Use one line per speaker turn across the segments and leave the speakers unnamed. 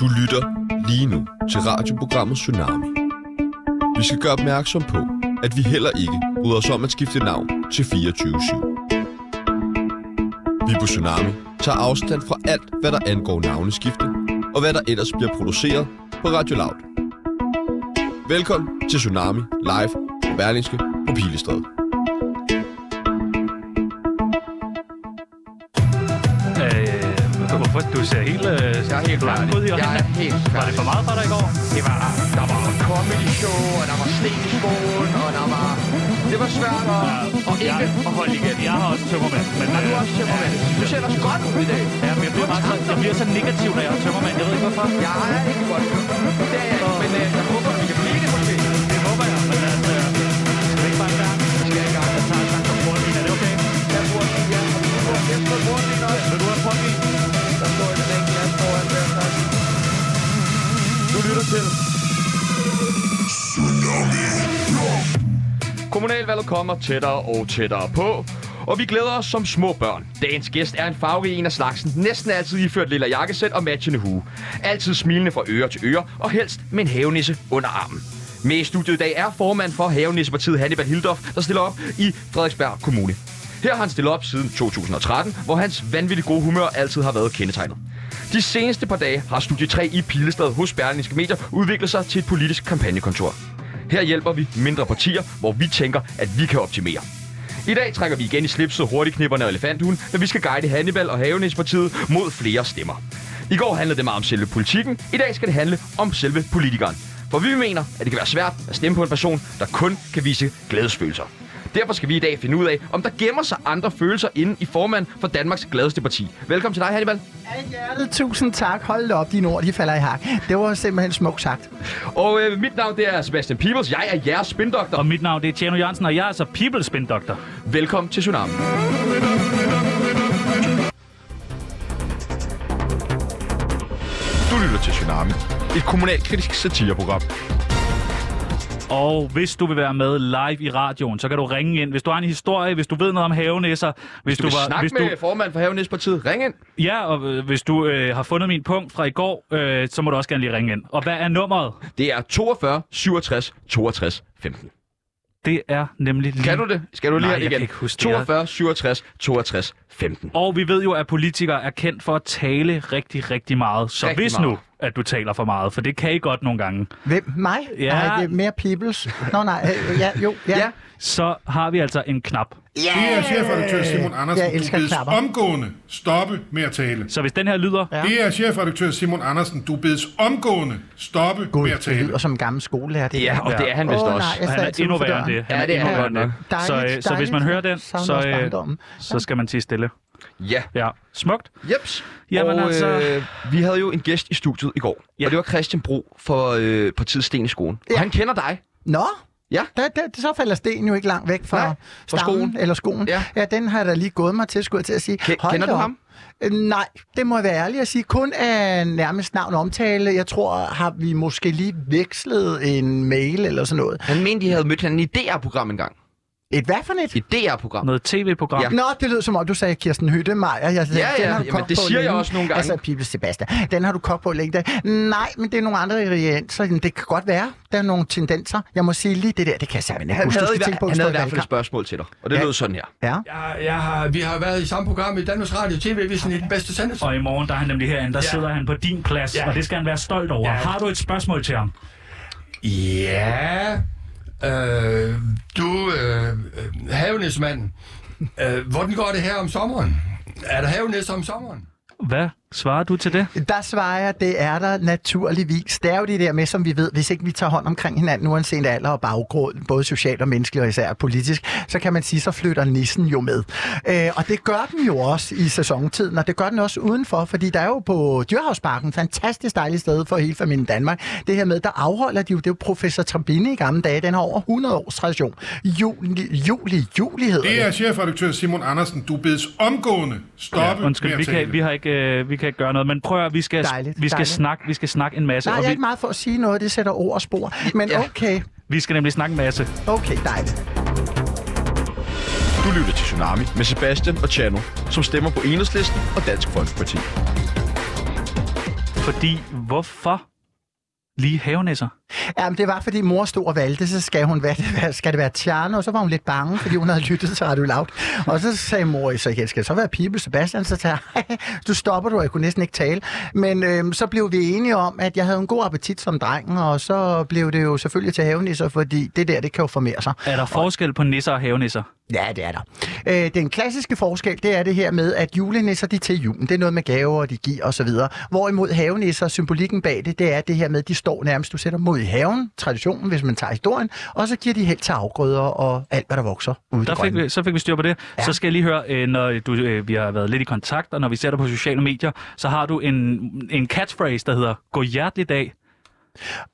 Du lytter lige nu til radioprogrammet Tsunami. Vi skal gøre opmærksom på, at vi heller ikke bryder os om at skifte navn til 24-7. Vi på Tsunami tager afstand fra alt, hvad der angår navneskifte, og hvad der ellers bliver produceret på Radio Loud. Velkommen til Tsunami Live på Berlingske på Pilestræde.
Øh, hvorfor du ser helt øh,
Jeg er helt
blank ud
færdig.
i
Jeg er
øjnene?
helt
Var det
færdig.
for meget for dig i går?
Det var, der var comedy show, og der var sten i skoen, og der var... Det var svært at, at
Jeg,
ikke at holde igen.
jeg har også tømmermand. Men,
Og du
øh,
er også tømmermand. Du ser også godt ud i dag.
Ja, men jeg bliver, bare så, jeg bliver så negativ, når jeg har tømmermand. Jeg ved ikke hvorfor.
Jeg er ikke godt. Det er jeg ikke, men øh, jeg håber, vi kan blive det måske.
Det håber jeg, men altså... Skal vi ikke bare i gang?
Vi skal i gang.
Jeg tager en chance på portvin. Er det okay?
Jeg bruger den her. Jeg bruger den på porten også.
Vil du have portvin?
Der står et længe glas foran hver tak. Du lytter til.
Kommunalvalget kommer tættere og tættere på, og vi glæder os som små børn. Dagens gæst er en farverig en af slagsen, næsten altid iført lille jakkesæt og matchende hue. Altid smilende fra øre til øre, og helst med en havenisse under armen. Med i studiet i dag er formand for Havenissepartiet Hannibal Hildorf, der stiller op i Frederiksberg Kommune. Her har han stillet op siden 2013, hvor hans vanvittigt gode humør altid har været kendetegnet. De seneste par dage har Studie 3 i Pilestad hos Berlingske Medier udviklet sig til et politisk kampagnekontor. Her hjælper vi mindre partier, hvor vi tænker, at vi kan optimere. I dag trækker vi igen i slipset hurtigknipperne og elefanthunden, når vi skal guide Hannibal og Havenæspartiet mod flere stemmer. I går handlede det meget om selve politikken, i dag skal det handle om selve politikeren. For vi mener, at det kan være svært at stemme på en person, der kun kan vise glædesfølelser. Derfor skal vi i dag finde ud af, om der gemmer sig andre følelser inde i formand for Danmarks gladeste parti. Velkommen til dig, Hannibal.
Af hjertet, tusind tak. Hold da op, dine ord, de falder i hak. Det var simpelthen smukt sagt.
Og øh, mit navn det er Sebastian Peebles. Jeg er jeres spindoktor.
Og mit navn det er Tjerno Jørgensen, og jeg er altså People Spin Doctor.
Velkommen til Tsunami.
Du lytter til Tsunami, et kommunalkritisk satireprogram.
Og hvis du vil være med live i radioen, så kan du ringe ind. Hvis du har en historie, hvis du ved noget om havenæsser, hvis
Du vil
var,
snakke
hvis
med formand for Havenæspartiet. Ring ind.
ja, og øh, hvis du øh, har fundet min punkt fra i går, øh, så må du også gerne lige ringe ind. Og hvad er nummeret?
Det er 42 67 62 15.
Det er nemlig lige...
Kan du det? Skal du lige
Nej,
have det
jeg
igen?
kan ikke huske det.
42 67 62 15.
Og vi ved jo, at politikere er kendt for at tale rigtig, rigtig meget. Så
Rigtig
rigtig hvis
meget.
meget. nu, at du taler for meget, for det kan I godt nogle gange,
Hvem? Mig?
Ja.
Nej, det er mere peoples. Nå nej, øh, ja, jo, ja.
Ja.
ja.
så har vi altså en knap.
Det er chefredaktør Simon Andersen.
Øh, Jeg elsker
du bedes
klapper.
omgående stoppe med at tale.
Så hvis den her lyder... Ja.
Ja.
Det er chefredaktør Simon Andersen. Du bedes omgående stoppe
Gud,
med at
det
tale.
lyder som en gammel skolelærer, det
Ja, og det er han vist
Åh,
også.
nej, jeg
Han
sad
er
altid
endnu
uden for
værre end
døren.
det.
Ja,
Han
det er
endnu
han
værre end det.
godt
nok.
så, øh,
Dejligt,
så hvis man
dejligt.
hører den,
Savner
så, øh,
også barndommen.
så skal man tige stille.
Ja.
Ja, smukt.
Jeps.
Jamen
og,
altså-
øh, vi havde jo en gæst i studiet i går, ja.
Ja.
og det var Christian Bro for øh, partiet Sten i skolen. Ja. Og han kender dig.
Nå,
Ja.
Da, da, så falder stenen jo ikke langt væk fra
Nej, fra
stammen
skoen.
eller skoen.
Ja.
ja, den har jeg da lige gået mig til, skulle jeg til at sige.
Ke-
Hold
kender
da
du
op.
ham?
Øh, Nej, det må jeg være ærlig at sige. Kun af nærmest navn og omtale. Jeg tror, har vi måske lige vekslet en mail eller sådan noget.
Han mente, I havde mødt hinanden i et DR-program engang.
Et hvad for net?
Et DR-program.
Noget tv-program.
Ja.
Ja.
Nå, det lød som om, du sagde Kirsten Høttemeier. Jeg,
Ja, ja,
den har du
jamen,
kogt
det
på
siger jeg
længe.
også nogle gange.
Altså, Pibel Sebastian, den har du kogt på længe. Da. Nej, men det er nogle andre ingredienser. Jamen, Det kan godt være, der er nogle tendenser. Jeg må sige lige det der, det kan jeg simpelthen ikke
Han
huske. Du
havde, i,
skal tænke på,
hver- han
at du
havde i
står
hvert fald et
valgkamp.
spørgsmål til dig, og det
Ja.
lød sådan her.
Ja.
Jeg, jeg har, vi har været i samme program i Danmarks Radio TV, vi er sådan i den bedste sendelse.
Og i morgen, der er han nemlig herinde, der ja. sidder han på din plads, ja. og det skal han være stolt over. Ja. Har du et spørgsmål til ham?
Ja, øh, du, øh, øh, havenæsmand, øh, hvordan går det her om sommeren? Er der havenæs om sommeren?
Hvad svarer du til det?
Der svarer jeg, det er der naturligvis. Det er jo det der med, som vi ved, hvis ikke vi tager hånd omkring hinanden, uanset alder og baggrund, både socialt og menneskeligt og især politisk, så kan man sige, så flytter nissen jo med. Øh, og det gør den jo også i sæsontiden, og det gør den også udenfor, fordi der er jo på Dyrhavsparken, fantastisk dejligt sted for hele familien Danmark, det her med, der afholder de jo, det er jo professor Trambini i gamle dage, den har over 100 års tradition. Juli, juli, juli hedder
Det er chefredaktør Simon Andersen. Du bedes omgående stoppe
Ja, undskyld,
med
vi
at tale.
kan, vi, har ikke, øh, vi kan ikke gøre noget, men prøv at, høre, vi skal,
Dejligt,
vi skal,
dejligt.
snakke, vi skal snakke en masse.
Nej, jeg
og
er
vi,
ikke meget for at sige noget, det sætter ord og spor. Men
Ja.
okay,
vi skal nemlig snakke en masse.
okay, dejligt.
Du lytter til Tsunami med Sebastian og Chano, som stemmer på Enhedslisten og Dansk Folkeparti.
Fordi, hvorfor lige havenæsser?
Jamen, det var, fordi mor stod og valgte, så skal, hun, hvad, hvad- skal det være Tjerno, og så var hun lidt bange, fordi hun havde lyttet til Radio Loud. Og så sagde mor, så igen, skal det så være Pibel Sebastian? Så sagde jeg, "Ej, du stopper du, og jeg kunne næsten ikke tale. Men øhm, så blev vi enige om, at jeg havde en god appetit som dreng, og så blev det jo selvfølgelig til havenisser, fordi det der, det kan jo formere sig.
Er der forskel på nisser og havenæsser?
Ja, det er der. Øh, den klassiske forskel, det er det her med, at julenisser, de er til julen. Det er noget med gaver, og de giver osv. Hvorimod havenisser, symbolikken bag det, det er det her med, at de står nærmest, du sætter mod i haven, traditionen, hvis man tager historien, og så giver de helt til afgrøder og alt, hvad der vokser ude i det
Der fik
grønne.
vi, så fik vi styr på det. Ja. Så skal jeg lige høre, øh, når du, øh, vi har været lidt i kontakt, og når vi ser dig på sociale medier, så har du en, en catchphrase, der hedder, gå hjertelig dag.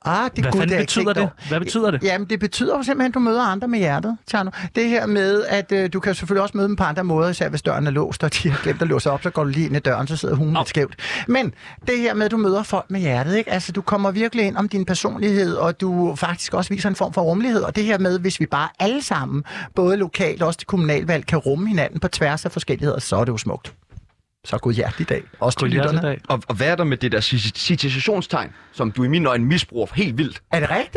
Ah, det
Hvad
kunne
fanden
jeg ikke
betyder
tænke
det?
over.
Hvad betyder det?
Jamen, det betyder jo simpelthen, at du møder andre med hjertet, Tjerno. Det her med, at øh, du kan selvfølgelig også møde dem på andre måder, især hvis døren er låst, og de har glemt at låse op, så går du lige ind i døren, så sidder hun lidt skævt. Men det her med, at du møder folk med hjertet, ikke? Altså, du kommer virkelig ind om din personlighed, og du faktisk også viser en form for rummelighed. Og det her med, hvis vi bare alle sammen, både lokalt og også til kommunalvalg, kan rumme hinanden på tværs af forskelligheder, så er det jo smukt. Så god hjertelig dag. Også
Gå
til
hjertelig
lytterne.
dag.
Og, og hvad er der med det der ci- citationstegn, som du i min øjne misbruger helt vildt?
Er det rigtigt?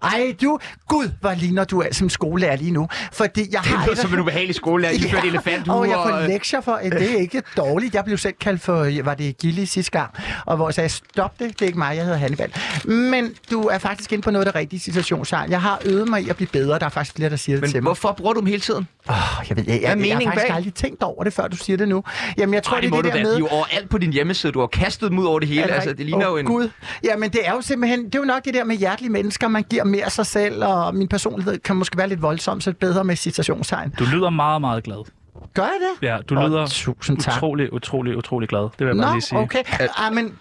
Ja. Ej, du, gud, hvor ligner du er som skolelærer lige nu. Fordi jeg har...
Det lyder
et-
som en ubehagelig skolelærer, I ført elefant
og jeg får lektier for, at det er ikke dårligt. Jeg blev selv kaldt for, var det Gilly sidste gang, og hvor jeg sagde, stop det, det er ikke mig, jeg hedder Hannibal. Men du er faktisk inde på noget af det rigtige situationstegn. Jeg har øvet mig i at blive bedre, der er faktisk flere, der siger det
Men
til mig.
hvorfor bruger du dem hele tiden?
Åh, jeg, ved, jeg, jeg, jeg, jeg har
meningen
faktisk
bag?
aldrig tænkt over det, før du siger det nu. Jamen, jeg tror,
Ej,
det er
må
det
du
der
da.
med...
De er jo overalt på din hjemmeside. Du har kastet dem ud over det hele.
Er
altså,
rigtigt?
det ligner
Åh,
jo en...
Gud. Jamen, det er jo simpelthen, det er jo nok det der med hjertelige mennesker, man giver mere af sig selv, og min personlighed kan måske være lidt voldsom, så det er bedre med citationstegn.
Du lyder meget, meget glad.
Gør jeg det?
Ja, du
Åh,
lyder
tusind tak.
utrolig, utrolig, utrolig glad. Det vil jeg bare lige sige.
Nå, okay. Ah, men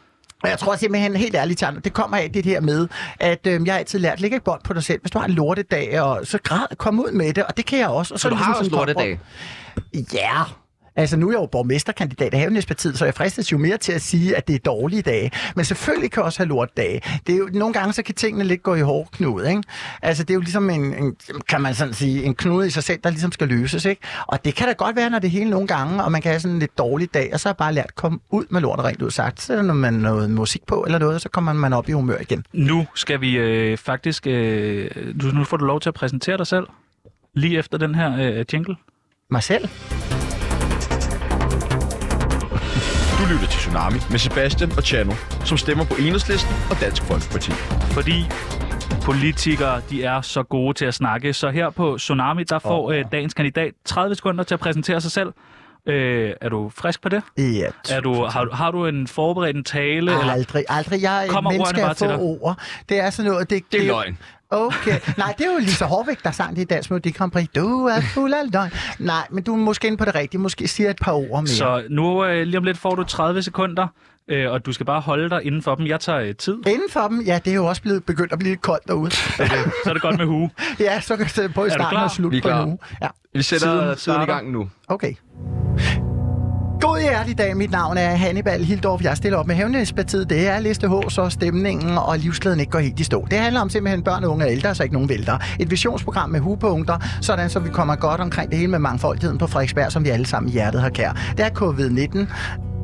jeg tror simpelthen, helt ærligt, Tjerno, det kommer af det her med, at øhm, jeg har altid lært, lægge et bånd på dig selv. Hvis du har en lortedag, og så græd, kom ud med det, og det kan jeg også. Og
Så
er
du
det
har
ligesom
også
sådan en
lortedag.
kompromis. Ja. Yeah. Altså, nu er jeg jo borgmesterkandidat af Havnæspartiet, så jeg fristes jo mere til at sige, at det er dårlige dage. Men selvfølgelig kan jeg også have lortdage. Det er jo, nogle gange så kan tingene lidt gå i hårdknud, ikke? Altså, det er jo ligesom en, en, kan man sådan sige, en knude i sig selv, der ligesom skal løses, ikke? Og det kan da godt være, når det hele nogle gange, og man kan have sådan en lidt dårlig dag, og så har jeg bare lært at komme ud med lort rent ud sagt. Så sætter man noget musik på eller noget, og så kommer man op i humør igen.
Nu skal vi øh, faktisk... Øh, nu, nu får du lov til at præsentere dig selv. Lige efter den her øh, jingle.
Mig selv?
Du lytter til Tsunami med Sebastian og Chano, som stemmer på Enhedslisten og Dansk Folkeparti.
Fordi politikere, de er så gode til at snakke. Så her på Tsunami, der får øh, dagens kandidat 30 sekunder til at præsentere sig selv. Øh, er du frisk på det?
Ja,
Er du, har, du- har du en forberedt en tale?
Ej,
eller-
Aldrig, aldrig. Jeg er et
Kommer
menneske
ordene bare
af få
til dig?
ord. Det er sådan noget... Det,
Det er løgn.
Okay. Nej, det er jo Lisa Horvæk, der sang det i Dansk Melodi Grand Prix. Du er fuld af løgn. Nej, men du er måske inde på det rigtige. Måske siger et par ord mere. Så...
Så nu øh, lige om lidt får du 30 sekunder, øh, og du skal bare holde dig inden for dem. Jeg tager øh, tid,
Inden for dem, ja, det er jo også blevet begyndt at blive lidt koldt derude.
så er det godt med hue.
ja, så kan jeg sætte på i
du
starten
klar?
og
Vi er
slutte på
klar.
nu. Ja,
Vi sætter
Tiden
tiden i
starter.
gang nu.
okay. God hjertelig dag. Mit navn er Hannibal Hildorf. Jeg stiller op med Hævnhedspartiet. Det er liste H, så stemningen og livsglæden ikke går helt i stå. Det handler om simpelthen børn, unge og ældre, så ikke nogen vælter. Et visionsprogram med hupunkter, sådan så vi kommer godt omkring det hele med mangfoldigheden på Frederiksberg, som vi alle sammen i hjertet har kær. Det er covid-19,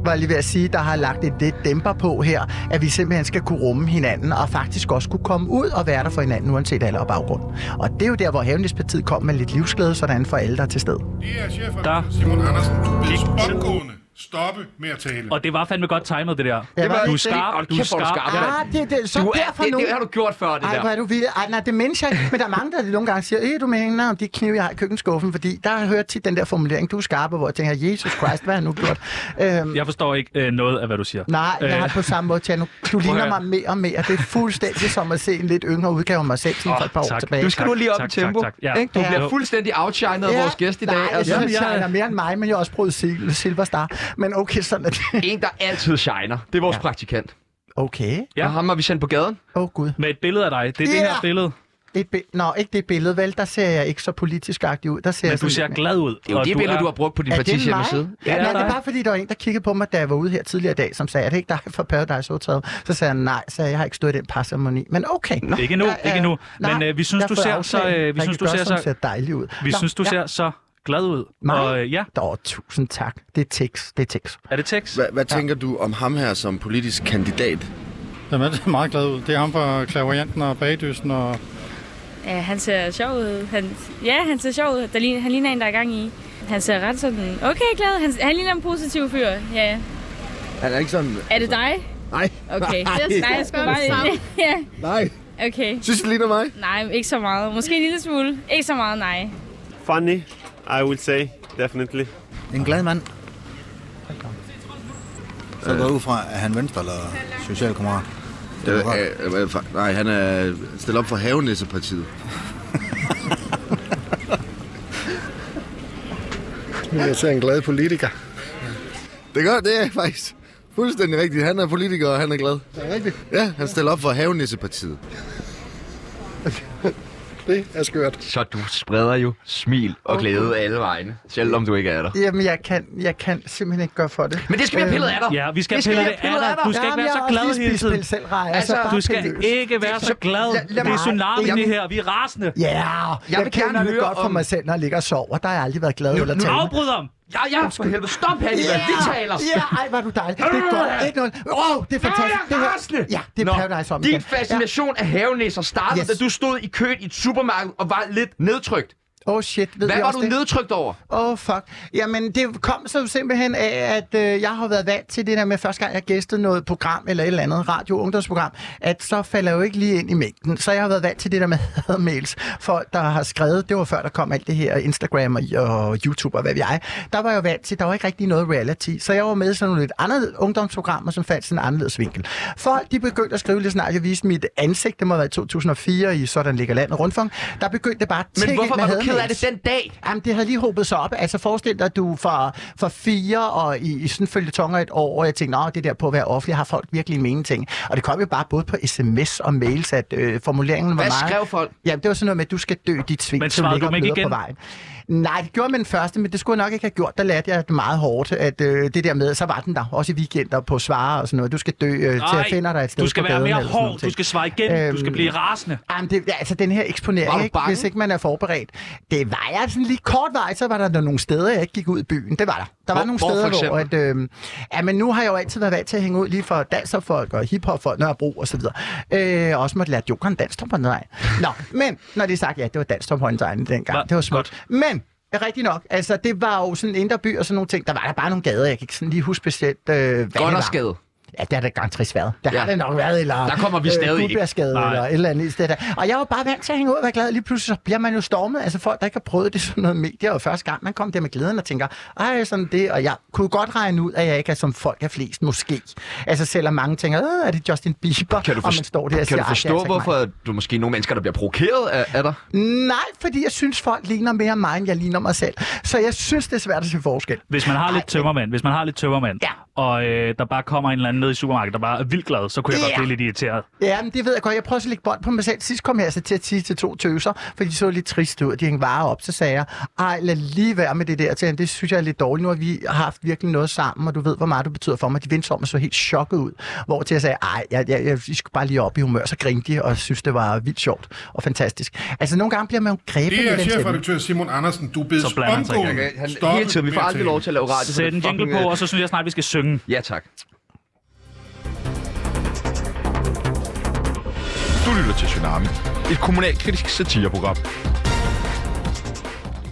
var jeg lige ved at sige, der har lagt et lidt dæmper på her, at vi simpelthen skal kunne rumme hinanden, og faktisk også kunne komme ud og være der for hinanden, uanset alder og baggrund. Og det er jo der, hvor Havnæspartiet kom med lidt livsglæde, sådan for alle, der er til sted.
Det er
Der-
chefredaktør Simon Andersen. Du bedes
Gik til-
omgående stoppe med at tale.
Og det var fandme godt timet, det der.
var
du er
ikke
skarp,
det.
du er
Kæft, hvor er du
skarp.
skarp,
Ja.
mand.
Ah, det, det, så
Du er,
derfor
det,
nu...
det har du gjort før, det
Ej, hvor
der.
er du vild. Ej, nej, det mindes jeg ikke. Men der er mange, der nogle gange siger, øh, du mener om de knive, jeg har i køkkenskuffen, fordi der har jeg hørt tit den der formulering, du er skarp, og hvor jeg tænker, Jesus Christ, hvad har jeg nu gjort? Øhm,
Jeg forstår ikke øh, noget af, hvad du siger.
Nej, jeg
Øh.
har det på samme måde, Tjerno. Du ligner
høre.
mig mere og mere. Det er fuldstændig som at se en lidt yngre udgave af mig selv, sådan for et par år
tak.
tilbage.
Du skal
Tak,
nu lige op
tak,
i tempo.
tak, tak. Ja.
ikke? Du
Ja.
bliver fuldstændig outshined af vores gæst i dag.
Nej, altså,
altså.
jeg
Jamen,
synes,
jeg-
han er mere end mig, men jeg har også prøvet sil- Silver Star. Men okay, sådan er det.
En, der altid shiner. Det er vores praktikant.
Okay.
Ja.
Ja. Og ham har vi sendt på gaden.
Åh, oh, Gud.
Med et billede af dig. Det er det
Ja.
her billede.
Et bi- Nå, ikke det billede, vel? Der ser jeg ikke så politisk agtig ud. Der ser
Men
jeg
du ser glad ud.
Det er jo det billede, du har brugt på din
Er det
partis
mig?
hjemmeside.
Ja,
Ja,
Nej, det
dig.
er bare fordi, der var en, der kiggede på mig, da jeg var ude her tidligere i dag, som sagde, er det ikke dig fra Paradise Hotel? Så sagde jeg, nej, så jeg har ikke stået i den parceremoni. Men okay. Nå,
Ikke nu,
Ja, ja.
ikke nu.
Nej,
Men øh, vi
jeg
synes,
har
du
fået
ser
aftalt,
så... øh, Vi
man
synes, du
kan gøre
ser
sådan,
så...
ser dejlig ud.
Vi
Nå,
synes, du
ja.
ser så glad ud.
Nej.
Og øh, ja,
Nå, tusind tak. Det er tekst, det er tekst.
er det tekst?
Hvad, hvad tænker du om ham her som politisk kandidat?
Jamen, det er meget glad ud. Det er ham fra Klaverianten og Bagdysten og...
Ja, han ser sjov ud. Han, ja, han ser sjov ud. Der ligner, han ligner en, der er gang i. Han ser ret sådan, okay glad. Han, han ligner en positiv fyr. Ja, ja.
Han er ikke sådan...
Er det dig?
Nej. Nej.
Okay. Nej, jeg skulle bare... ja,
Nej.
okay.
Synes du det ligner mig?
Nej, ikke så meget. Måske en lille smule. Ikke så meget, nej.
Funny, I would say, definitely.
En glad mand. Så går jeg ud fra, at han venstre eller socialkammerat.
Det, øh, øh, fa- nej, han er stillet op for Havenæssepartiet.
Jeg ser en glad politiker.
Det er godt, det er faktisk fuldstændig rigtigt. Han er politiker, og han er glad.
Det er rigtigt.
Ja, han stiller op for Havenæssepartiet.
Det er skørt.
Så du spreder jo smil og glæde alle vegne, selvom du ikke er der.
Jamen, jeg kan, jeg kan simpelthen ikke gøre for det.
Men det skal vi have pillet af dig.
Ja, vi skal
Det skal
pille det
jeg pille
af dig.
af dig.
Du skal ikke være så glad hele tiden.
Selv, Raja,
Altså,
altså,
bare
Du skal ikke være så glad.
lad- lad
Det er
mig-
tsunamien,
jeg-
det her. Vi er rasende.
Ja, yeah, jeg,
vil
jeg
gerne
kender det
høre
godt for
om-
mig selv, når jeg ligger og sover. Der har jeg aldrig været glad eller
Nu
tale.
afbryd ham.
Ja, ja, for helvede. Stop, Hannibal. Vi taler.
Ja, ej, var du dejlig. Det er godt. 1-0. Åh, oh, det er fantastisk.
Nå,
Det
jeg er
her-
rasende.
Ja, det er Paradise om
Din
igen.
fascination af havenæsser startede,
Yes.
da du stod i køen i et supermarked og var lidt nedtrykt.
Åh, oh, shit. Ved
Hvad
I
var
også
du
det?
nedtrykt over?
Åh, oh, fuck. Jamen, det kom så simpelthen af, at øh, jeg har været vant til det der med, første gang jeg gæstede noget program eller et eller andet radio- ungdomsprogram, at så falder jeg jo ikke lige ind i mængden. Så jeg har været vant til det der med mails. Folk, der har skrevet, det var før der kom alt det her Instagram og, og YouTube og hvad ved jeg. Der var jeg jo vant til, der var ikke rigtig noget reality. Så jeg var med i sådan nogle lidt andre ungdomsprogrammer, som fandt sådan en anderledes vinkel. Folk, de begyndte at skrive lidt snart. Jeg viste mit ansigt, det må have været i 2004 i Sådan ligger landet rundfang. Der begyndte det bare at
Men
tikke
hvorfor
ind
var
med
du ked af
hademails.
det den dag?
Jamen, det havde lige hobet sig op. Altså, forestil dig, at du for, for fire og i, i sådan følge tonger et år, og jeg tænkte, nej, det der på at være offentlig, har folk virkelig en mening ting. Og det kom jo bare både på sms og mails, at øh, formuleringen var
Hvad
meget...
skrev folk?
Jamen, det var sådan noget med, at du skal dø dit svin,
Men
som
svarede
ligger
du dem ikke
bløder på
igen?
vejen. Nej, det gjorde jeg med den første, men det skulle jeg nok ikke have gjort. Der lærte jeg det meget hårdt, at øh, det der med, så var den der, også i weekender på svare og sådan noget. Du skal dø øh, til at finde dig et sted
du skal
på
være
gaden
mere
eller sådan nogle
hård. Du
ting.
skal svare igen. Du skal
Øhm,
blive rasende.
Jamen, det, altså den her
Var du
eksponering, ikke,
bange?
hvis ikke man er forberedt. Det var jeg sådan lige kort vej, så var der nogle steder, jeg ikke gik ud i byen. Det var der. Der var
Hvor-
nogle
hvor
steder,
for
hvor... At, øh, ja, men nu har jeg jo altid været vant til at hænge ud lige for danserfolk og hiphopfolk, Nørrebro og så videre. Øh, også måtte lære jokeren danstrup på noget Nå, men når det er sagt, ja, det var danstrup håndtegnet dengang.
Var-
det var smukt.
godt.
Men Rigtig nok. Altså, det var jo sådan en indre by og sådan nogle ting. Der var der bare nogle gader, jeg kan ikke sådan lige huske specielt, øh, hvad det var.
Gunnerskade.
Ja, det har det garanteret været. Der ja.
Ja.
har det nok været, eller... øh,
Der kommer vi stadig ikke.
Guldbjergsgade
Nej.
eller et eller andet sted der. Og jeg var bare vant til at hænge ud og være glad. Lige pludselig så bliver man jo stormet. Altså folk, der ikke har prøvet det sådan noget medier, og første gang man kom der med glæden og tænker, ej, sådan det, og jeg kunne godt regne ud, at jeg ikke er som folk er flest, måske. Altså selvom mange tænker, øh, er det Justin Bieber?
Kan du,
og man
forst-
står der og
kan
siger,
du
"Ej, det er
forstå,
altså ikke mig."
hvorfor du måske er nogle mennesker, der bliver provokeret af, af dig?
Nej, fordi jeg synes, folk ligner mere mig, end jeg ligner mig selv. Så jeg synes, det er svært at se forskel.
Hvis man har
Ej,
lidt tømmermand, hvis man har lidt tømmermand,
Ja.
og øh, der bare kommer en eller anden ned i supermarkedet, der bare er vildt glad, så kunne jeg godt
Ja.
blive lidt irriteret.
Ja, men det ved jeg godt. Jeg prøver også at lægge bånd på mig selv. Sidst kom jeg altså til at sige til to tøser, for de så lidt trist ud, og de hængte varer op. Så sagde jeg, ej, lad lige være med det der til Det synes jeg er lidt dårligt. Nu har vi haft virkelig noget sammen, og du ved, hvor meget du betyder for mig. De vendte sig om og så helt chokket ud. Hvor til jeg sagde, ej, jeg, jeg, jeg, I skulle bare lige op i humør, så grinte de, og synes, det var vildt sjovt og fantastisk. Altså, nogle gange bliver man jo grebet
Det
i
er
den stemning.
chefredaktør Simon Andersen. Du bedes
Så blander han sig ikke
omgående
Han,
stoppe
hele tiden, vi
med
får
at
aldrig
tale.
lov til at lave radio.
Sæt en
Det er
jingle
fucking,
på,
øh,
og så synes jeg snart, vi skal synge.
Ja, tak.
Du lytter til Tsunami, et kommunalkritisk satireprogram.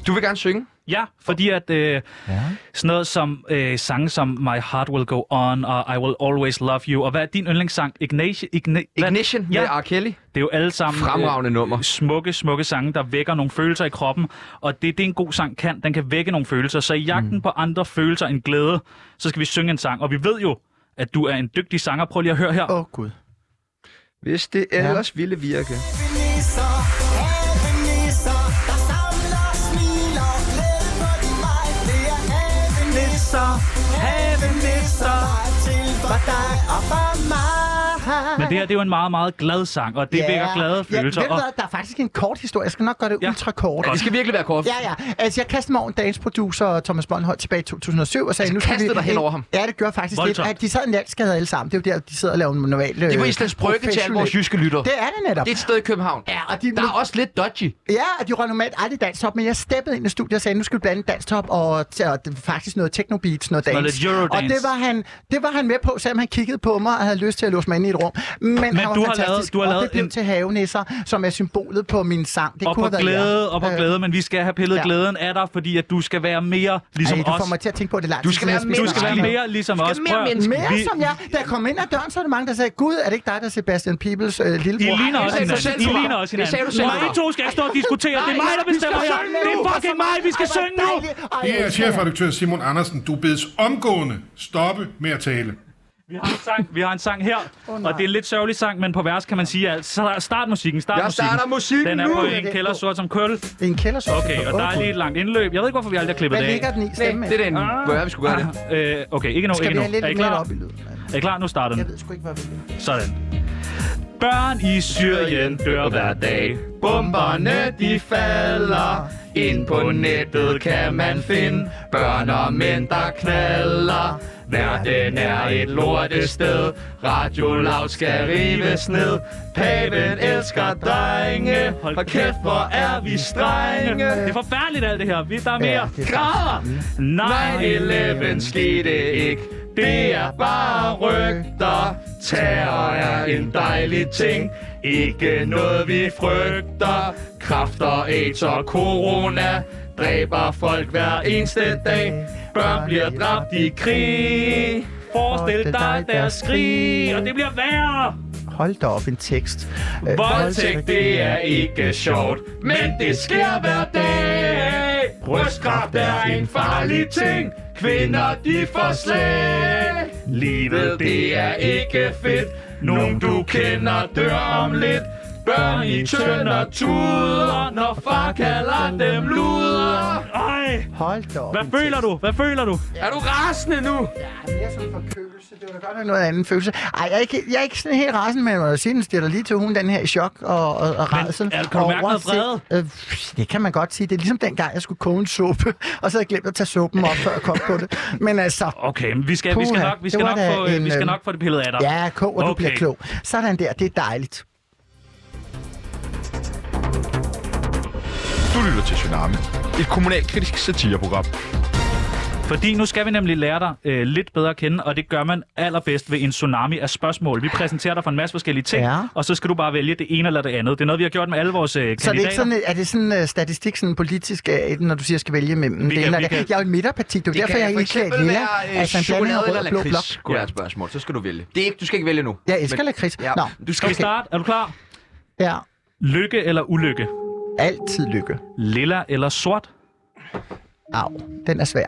Du vil gerne synge?
Ja, fordi at øh, ja. sådan noget som øh, sange som My Heart Will Go On og I Will Always Love You, og hvad er din yndlingssang? Ignition? Igni- hvad-
Ignition ja. med
Ja,
R. Kelly.
det er jo alle sammen øh,
Fremragende nummer.
smukke, smukke sange, der vækker nogle følelser i kroppen, og det, det en god sang kan, den kan vække nogle følelser. Så i jagten mm. på andre følelser end glæde, så skal vi synge en sang, og vi ved jo, at du er en dygtig sanger. Prøv lige at høre her.
Åh, oh, Gud.
Hvis det ellers ja. ville virke.
Nisser, have nisser, for dig og for mig.
Men det her, det er jo en meget, meget glad sang, og det yeah. vækker glade følelser.
Ja, ved
og-
du hvad, der er faktisk en kort historie. Jeg skal nok gøre det ja. ultra kort.
Ja, det skal virkelig være kort.
Ja, ja. Altså, jeg kastede mig over en dagens producer, Thomas Bollhold, tilbage i 2007, og sagde,
Altså,
nu skal
kastede
vi...
dig hen over ham?
Ja, det gør faktisk
Voldsomt.
lidt. At de sad en natskade alle sammen. Det er jo der, de sidder og laver en normal...
Det var
øh,
Islands Brygge til alle vores
professionel-
jyske lyttere.
Det er det netop.
Det er et sted i København.
Ja, og de,
Der er også lidt dodgy.
Ja, og de røg normalt aldrig dansk top, men jeg steppede ind i studiet og sagde, nu skal vi blande dansk top og, og, det- faktisk noget technobeats, noget
Noget
dans.
lidt Eurodance.
Og det var, han, det var han med på, selvom han kiggede på mig og havde lyst til at låse mig ind i et rum. Men, men han var
du har
fantastisk,
lavet- du har
og
lavet
det blev
en-
til havenisser, som er symbolet på min sang. Det
op
kunne
og
have været jer.
glæde, op og
Øh,
glæde, men vi skal have pillet
ja.
ja. glæden af dig, fordi at du skal være mere ligesom
Ej, du får
os.
mig til at tænke på det langt.
Du skal være mere- du skal være mere ligesom os. Prøv at-
Mere
vi-
som jeg. Da jeg kom ind ad døren, så er der mange, der sagde, Gud, er det ikke dig, der er Sebastian Peebles øh,
I
lillebror?
ligner
Ej,
også
det
hinanden.
sagde du
I
selv.
ligner også hinanden.
selv.
Nå, I to skal ikke stå og diskutere. Det er mig, der
vi skal
bestemmer her.
synge
Det
nu. Altså,
er fucking mig. Vi skal
Ej, hvor
synge nu.
dejligt. Ej, hvor
Det er chefredaktør Simon Andersen. Du bedes omgående stoppe med at tale.
Vi har en sang, vi har en sang her,
Åh,
oh,
nej.
og det er en lidt sørgelig sang, men på vers kan man sige, at så start musikken, start
Jeg
musikken.
starter musikken
Den er
nu.
på
Det er
en
det.
kælder sort som køl.
En kælder sort som
Okay,
kul.
og der er lige et langt indløb. Jeg ved ikke, hvorfor vi aldrig har klippet
Hvad
det af.
ligger den i stemmen?
det er den. Hvor er vi skulle gøre
det. Øh, okay, ikke nu,
Skal
ikke
vi
nu.
have lidt
Er I
mere
klar?
op i lyden?
Er I klar? Nu starter den.
Jeg ved sgu ikke, hvad vi vil.
Sådan. Børn i Syrien dør hver dag.
Bomberne de falder Ind på nettet kan man finde Børn og mænd der knaller Verden er et lortested Radiolav skal rives ned Paven elsker drenge Hold kæft hvor er vi strenge
Det er forfærdeligt alt det her. Vi der er
Ja,
mere.
det er faktisk-
Nej,
9-11 skete ikke Det er bare rygter Terror er en dejlig ting Ikke noget vi frygter Kræfter, AIDS og corona Dræber folk hver eneste dag Børn bliver dræbt i krig
Forestil dig deres skrig, og det bliver værre.
Hold da op, en tekst. Øh,
Voldtægt, det er ikke sjovt, men det sker hver dag. Brystkræft er en farlig ting, kvinder de får slag. Livet, det er ikke fedt, nogen du kender dør om lidt. Børn i tønder tuder, når far kalder dem luder.
Ej!
Hold da op.
Hvad føler du? Hvad føler du?
Er du rasende nu?
Ja, mere som forkølelse. Det var da godt nok noget andet følelse. Ej, jeg er ikke, jeg er ikke sådan helt rasen, men jeg må da sige, den stiger lige til hun, den her i chok og, og, og rædsel.
er- kan du mærke
Over
noget vrede?
at se- Øh, pff, det kan man godt sige. Det er ligesom dengang, jeg skulle koge en suppe, og så havde jeg glemt at tage suppen op, før jeg kom på det. Men altså...
Okay, men vi skal, vi skal
puha,
nok, vi
det
skal
var
nok,
da
få, øh,
en,
vi skal
øhm,
nok få det pillet af dig.
Ja, kog, og okay. du bliver
Okay.
klog. Sådan der, det er dejligt.
Du lytter til Tsunami, et kommunalkritisk satireprogram.
Fordi nu skal vi nemlig lære dig øh, lidt bedre at kende, og det gør man allerbedst ved en tsunami af spørgsmål. Vi præsenterer dig for en masse forskellige ting,
Ja.
ja. og så skal du bare vælge det ene eller det andet. Det er noget, vi har gjort med alle vores øh, kandidater.
Så er det ikke sådan, øh, er det sådan uh, statistik, sådan politisk, uh, når du siger, at jeg skal vælge mellem det
kan-
ene og
vi
det
kan-
andet? Jeg er jo et midterparti, det er jo derfor, jeg er ikke klædt lilla.
øh,
Altså en blanding af rød og blå blok.
Kunne være et spørgsmål, så skal du vælge. Det er ikke, du skal ikke vælge nu.
Jeg elsker lakrids. Nå,
Du skal okay. starte. Er du klar?
Ja.
Lykke eller ulykke?
Altid lykke.
Lilla eller sort?
Au, den er svær.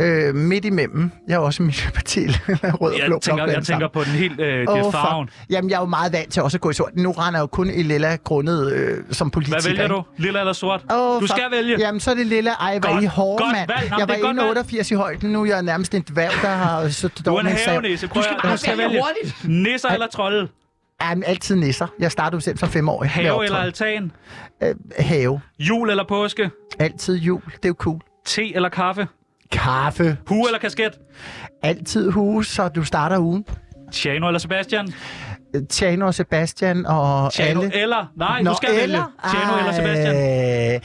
Øh, midt imellem. Jeg er også miljøparti, rød og blå
Jeg
blok
tænker, jeg
blandet
tænker
sammen.
på den helt øh, det
Åh,
er
fuck.
farven.
Jamen, jeg er jo meget vant til også at gå i sort. Nu render jeg jo kun i lilla grundet øh, som politiker.
Hvad vælger
ikke?
du? Lilla eller sort?
Åh,
du
fuck.
skal vælge.
Jamen, så er det lilla. Ej, hvor er
Godt.
I hårde,
Godt
mand.
valg. Jamen,
jeg
det er godt
var 1,88 i højden nu. Jeg er nærmest en dværg, der har suttet
Du er
dog
en
med en sav.
havenisse. Prøv at- du skal vælge nisser eller trolde?
Jamen, altid nisser. Jeg startede jo selv som femårig. med
Have eller
optræden.
altan?
Øh, have.
Jul eller påske?
Altid jul. Det er jo cool.
Te eller kaffe?
Kaffe.
Hue eller kasket?
Altid hus, så du starter ugen.
Tjano eller Sebastian?
Øh, Tjano og Sebastian og
Tjano
alle.
eller? Nej,
Nå,
du skal vælge. Tjano eller Sebastian?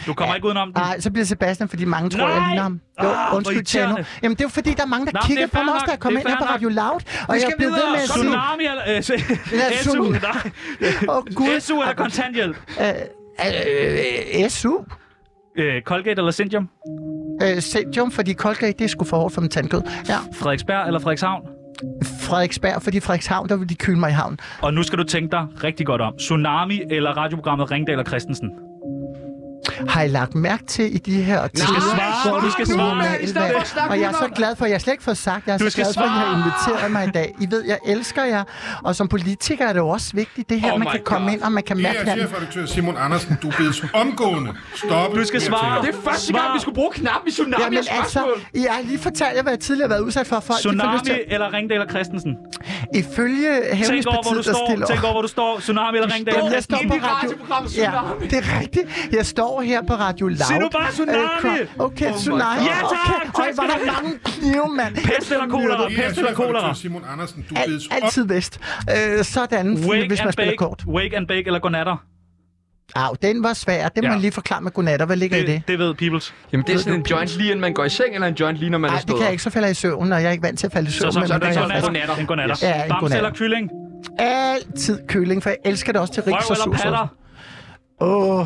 Du kommer ikke udenom den.
Nej, så bliver Sebastian, fordi mange
Nej!
tror, jeg ligner ham. Jo,
Ah, hvor
undskyld, Tjano.
irriterende.
Jamen, det er jo fordi, der er mange, der
Nå, men
kiggede
det er
på mig
fair
også, da jeg
nok.
kom
Det er
ind her på
fair nok.
Radio Loud.
Vi
Og jeg
skal
blev ved
videre.
med at sige...
Tsunami eller... Øh, se-
Ja,
SU,
tsunami.
nej. SU eller kontanthjælp?
Øh, øh, SU?
Øh, Colgate eller Sintium?
Øh, Sentium, fordi Colgate, det er sgu for hårdt for min tandkød. Ja.
Frederiksberg eller Frederikshavn?
Frederiksberg, fordi Frederikshavn, der vil de køle mig i havn.
Og nu skal du tænke dig rigtig godt om. Tsunami eller radioprogrammet Ringdal og Christensen?
Har I lagt mærke til i de her tider?
svare,
hvor
du skal
vi
svare.
normalt
I stedet for at snakke
Og jeg er så
udenom.
glad for, at jeg slet ikke får sagt, jeg er
Du
så
skal
glad for, at I har
svare.
inviteret mig i dag. I ved, jeg elsker jer. Og som politiker er det jo også vigtigt, det her,
Oh
man
my
kan komme
God.
ind, og man kan
Det
mærke
er
hinanden.
chefredaktør Simon Andersen. Du bedes omgående stoppe
Du skal
med at
svare.
tale.
Det er første gang, Svar. vi
skulle bruge knappen i
Jamen altså, I har lige fortalt jer, hvad jeg tidligere har været udsat for. Folk, de får lyst
Tsunami
til-
eller Ringdal og Christensen?
Ifølge
Tænk over, hvor du
Hævningspartiet, der
står.
stiller...
Tænk over, hvor du står. Tsunami eller Ringdal.
Jamen, jeg står på
radioprogrammet
radio. Ja, det er rigtigt. Jeg står her på Radio Loud.
Sig nu bare tsunami!
Øh, kra- Okay,
Oh my
tsunami.
God. Ja, tak!
Okay. Øj,
Tak
var
skal du
der
have.
mange knive, mand.
Pest eller kolera?
Ja,
Pest eller kolera?
Simon Andersen, du
Al- altid vest. Øh, sådan,
Wake
hvis man
and
spiller
bake.
kort.
Wake and bake eller godnatter.
Au, den var svær. Det må
Ja.
man lige forklare med godnatter. Hvad ligger i det?
Det ved Peoples.
Jamen, det er
Ved
sådan
du,
en joint lige inden man går i seng, eller en joint lige når man
Nej,
er
det
stået
kan jeg
op?
ikke, så falder jeg i søvn, og jeg er ikke vant til at falde i
så-
søvn.
så er
medmindre
det
jeg
en
frisk.
godnatter. En
godnatter.
Ja, en
Bamse
godnatter.
eller kylling?
Altid kylling, for jeg elsker det også til rigs
Røv
og
eller
sus.
patter?
Åh,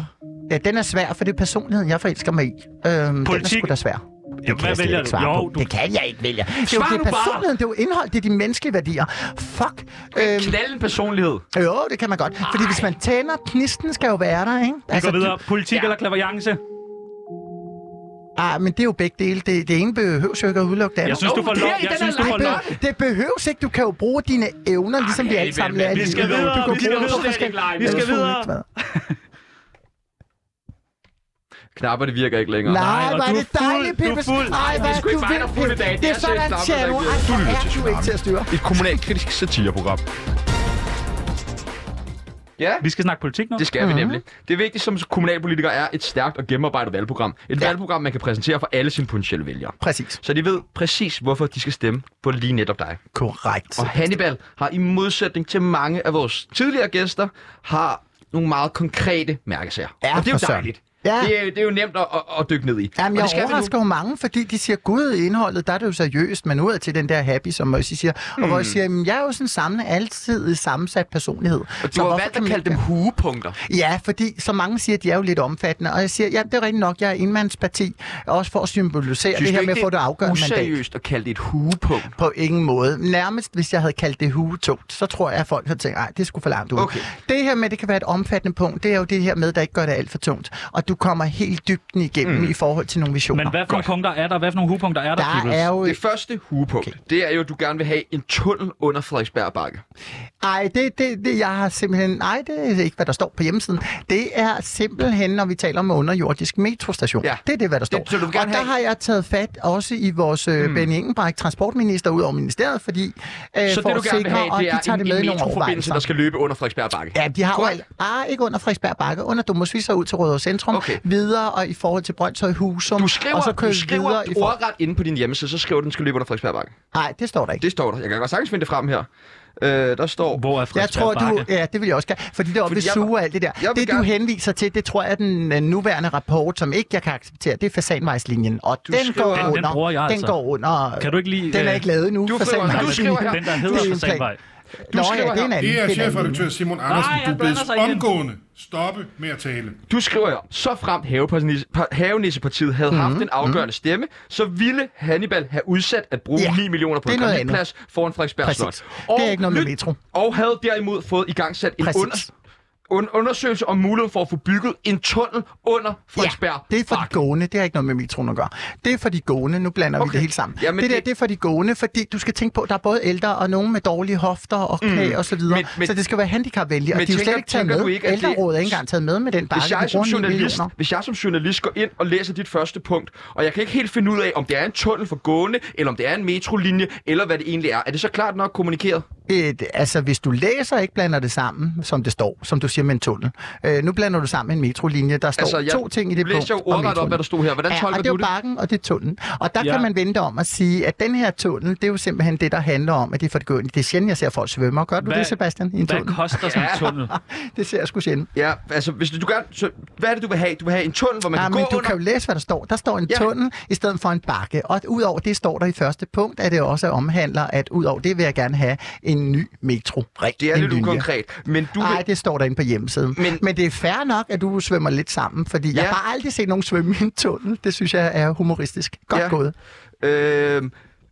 ja, den er svær, for det er personligheden, jeg forelsker mig i. Øhm, den er
Politik.
sgu da svær. Det
Jamen,
kan jeg
hvad
slet
vælger
ikke
du?
svare
Jo,
på.
du...
Det kan jeg ikke vælge. Det er
Svar
jo det
nu
er
bare!
personligheden, det er jo indhold, det er de menneskelige værdier. Fuck. Øhm,
Knald en personlighed.
jo, det kan man godt. Fordi hvis man tænder, knisten skal jo være der, ikke? Altså,
Vi går videre. Politik eller klaverjance?
Ah, men det er jo begge dele. Det, det ene behøves jo ikke at udelukke det andet.
Jeg synes, du får lov. Jeg synes, du får lov.
Ej, be- Det behøves ikke. Du kan jo bruge dine evner, ligesom vi alle sammen lærer. i
Vi skal
livet.
videre.
Du kan
Vi skal
bruge
videre.
dem, skal-
Vi skal
Eller
videre.
fuldt, hvad?
Knapper, det virker ikke længere.
Nej,
og
hvor er
du
det dejligt, Pippes. Nej,
Det
hvad
er sgu
du
ikke mig, der er fuld i
vil.
dag.
Det
Det
er
er
sådan,
selv
ser du.
Claus, der ikke
Ej, hvor
vil.
er du ikke til at styre.
Et kommunalkritisk satireprogram.
Ja.
Vi skal snakke politik nu.
Det skal vi
Mhm.
nemlig. Det vigtigste som kommunalpolitiker er et stærkt og gennemarbejdet valgprogram. Et valgprogram, man kan præsentere for alle sine potentielle vælgere.
Præcis.
Så de ved præcis, hvorfor de skal stemme på lige netop dig.
Korrekt.
Og Hannibal har i modsætning til mange af vores tidligere gæster, har nogle meget konkrete mærkesager.
Ja,
og det er
for
jo
søren.
dejligt.
Ja.
Det, er, jo- det er jo nemt at, at, at dykke ned i.
Jamen,
og
jeg
det skal vi nu.
overrasker jo mange, fordi de siger, gud, i indholdet, der er det jo seriøst, men ud til den der happy, som Møssi siger. Og hvor jeg siger, "Jamen, jeg er jo sådan samme, altid sammensat personlighed.
Og du har valgt at kalde dem hugepunkter.
Ja, fordi så mange siger, at de er jo lidt omfattende, og jeg siger, ja, det er rigtigt nok, jeg er indmandsparti, også for at symbolisere det
du
her
ikke,
med at få det
er
afgørende mandat.
useriøst at kalde det et hugepunkt?
På ingen måde. Nærmest, hvis jeg havde kaldt det hugetungt, så tror jeg, at folk havde tænkt, nej, det skulle for langt ud.
Okay.
Det her med, det kan være et omfattende punkt, det er jo det her med, der ikke gør det alt for tungt. Og du kommer helt dybden igennem mm. i forhold til nogle visioner.
Men hvad for nogle punkter er der? Hvad for nogle hupunkter er der,
Der
Peoples?
er jo...
Det første hugepunkt, okay. det er jo, at du gerne vil have en tunnel under Frederiksberg Bakke.
Ej, det, det, det, jeg har simpelthen... Nej, det er ikke, hvad der står på hjemmesiden. Det er simpelthen, når vi taler om underjordisk metrostation.
Ja.
Det er det, hvad der står.
Det- så du vil
og der
gerne have- Hmm.
har jeg taget fat også i vores mm. Benny Engelbrecht, transportminister, ud over ministeriet, fordi... Øh,
Så
for
det, du gerne
at sikre,
vil have,
og
det
de
er
tager
en,
det
en
med i nogle
metroforbindelse,
overvejelser.
der skal løbe under Frederiksberg Bakke.
Ja, de har jo
Korrekt.
alt. Ah, ikke under Frederiksberg Bakke, under Domosviser ud til Rødovre Centrum,
Okay.
videre og i forhold til Brøndshøj Husum,
Du skriver,
og så kører
du
vi
skriver
videre i forhold...
ordret inde på din hjemmeside, så skriver du, den skal løbe under Frederiksberg Bakke.
Nej, det står der ikke.
Det står der. Jeg kan godt sagtens finde det frem her. Øh, der står...
Hvor er
Jeg tror,
Frederiksberg
du...
Bakke?
Ja, det vil jeg også gerne. Fordi det oppe ved
Fordi jeg-
suge og alt det der.
jeg vil
Det, du
gerne-
henviser til, det tror jeg er den øh, nuværende rapport, som ikke jeg kan acceptere, det er fasanvejslinjen. Og
Du
den
skriver-
går
Den- den
under...
bruger jeg altså.
Den går under...
Kan du ikke lige,
Den er
øh,
ikke lavet endnu.
du skriver-
fasanvejslinjen.
du skriver her-
Den, der
Det er en
hedder
plan.
Fasanvej.
Nå,
skriver
ja, det er en
her-
anden.
Det er
en anden.
chefredaktør Simon Andersen,
Nej,
du
han blander
bedes
sig igen.
omgående stoppe med at tale.
Du skriver jo, så fremt haveparnis- pa- havenissepartiet havde mm-hmm.
Mhm,
haft en afgørende mm-hmm. stemme, så ville Hannibal have udsat at bruge
Ja,
ja, 9 millioner på
det er
en
noget
granitplads foran Frederiksberg
Præcis.
Slot.
Det er ikke noget med
lyt-
metro.
Og havde derimod fået i gang sat en
Præcis.
under, un- undersøgelse om muligheden for at få bygget en tunnel under Frederiksberg
det er for
Bakke.
de gående. Det har ikke noget med metroen at gøre. Det er for de gående. Nu blander okay. vi
Okay.
det hele sammen.
Jamen,
det der,
det-
det... er for de gående, fordi du skal tænke på, at der er både ældre og nogen med dårlige hofter og knæ mm. og så videre.
Men- men-
så det skal være handicapvenligt, og
Men
de er jo
tænker-
slet ikke taget
tænker
med.
du ikke, at det-
Ældrerådet er ikke engang taget med med den bakke.
Hvis jeg,
på
som
grund af ni
journalist,
millioner.
hvis jeg som journalist går ind og læser dit første punkt, og jeg kan ikke helt finde ud af, om det er en tunnel for gående, eller om det er en metrolinje, eller hvad det egentlig er, er det så klart nok kommunikeret?
Et, altså, hvis du læser og ikke blander det sammen, som det står, som du siger med en tunnel. Øh, nu blander du sammen med en metrolinje. Der står
Altså,
altså,
jeg
to ting i det
læser
punkt.
jo
om
ordret op,
metroen.
hvad der stod her. Hvordan
ja,
tolker
og det er jo
du det?
bakken, og det er tunnelen. Og der ja.
Ja.
kan man vente om at sige, at den her tunnel, det er jo simpelthen det, der handler om, at det er for det gående. Det er sjældent, jeg ser folk svømme. Gør du
Hvad-
det, Sebastian, i en tunnel?
Hvad koster sådan en tunnel?
Det ser jeg sgu sjældent.
Ja, altså, hvis du gerne... Så, hvad er det, du vil have? Du vil have en tunnel, hvor man
Ja,
kan
Ah, men
gå
du
under?
kan jo læse, hvad der står. Der står en
Ja.
ja. tunnel i stedet for en bakke. Og udover det står der i første punkt, at det også omhandler, at udover det vil jeg gerne have en ny metro.
Det er
en
lidt
linje.
ukonkret, men du
Nej,
vil...
det står derinde på hjemmesiden.
Men-
Men, men det er fair nok, at du svømmer lidt sammen, fordi ja. jeg
Ja.
har bare aldrig set nogen svømme i en tunnel. Det synes jeg er humoristisk. Godt
Ja.
ja. gået.
Øh,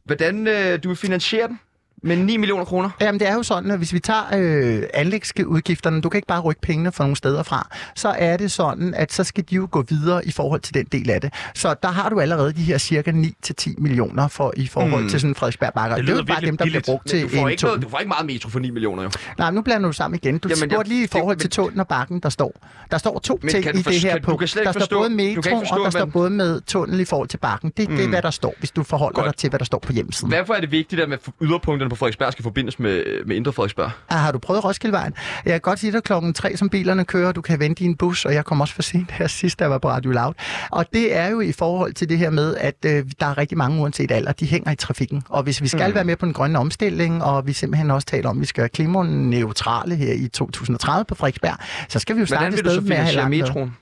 hvordan øh, du vil finansiere den? Med 9 millioner kroner?
Jamen, det er jo sådan, at hvis vi tager øh, anlægsudgifterne, du kan ikke bare rykke pengene fra nogle steder fra, så er det sådan, at så skal de jo gå videre i forhold til den del af det. Så der har du allerede de her cirka 9-10 millioner for, i forhold mm. til sådan Frederiksberg Bakker.
Det
Det, det er
lyder
jo bare
virkelig
dem, der bliver
billigt,
brugt til
Men du får,
en
ikke noget,
tunnel.
du får ikke meget metro for 9 millioner, jo.
Nej, men nu blander du sammen igen. Du
Jamen,
Jamen, spurgte
jeg-
lige i
det-
forhold
men-
til tunnelen og bakken, der står. Der står to
Men
ting
kan
i
du
det
forst-
her
kan- du
punkt.
kan slet ikke
der står
forstå-
både
du kan ikke
metro,
forstå, Mm.
og der
at
står
man-
både med tunnel i forhold til bakken. Det, det er, hvad der står, hvis du forholder dig til, hvad der står på hjemmesiden.
Hvorfor er det vigtigt, at man får yderpunkterne Rådhuspladsen på Frederiksberg skal forbindes med, med Indre Frederiksberg.
Ah, har du prøvet Roskildevejen? Jeg kan godt sige dig klokken tre, som bilerne kører, du kan vente i en bus, og jeg kom også for sent her sidst, der var på Radio Loud. Og det er jo i forhold til det her med, at øh, der er rigtig mange, uanset alder, de hænger i trafikken. Og hvis vi skal
Mm.
mm. være med på den grønne omstilling, og vi simpelthen også taler om, at vi skal være klimaneutrale her i 2030 på Frederiksberg, så skal vi jo starte
Hvordan vil
et
du
sted
så
med at have
finansiere
langt med.
metroen?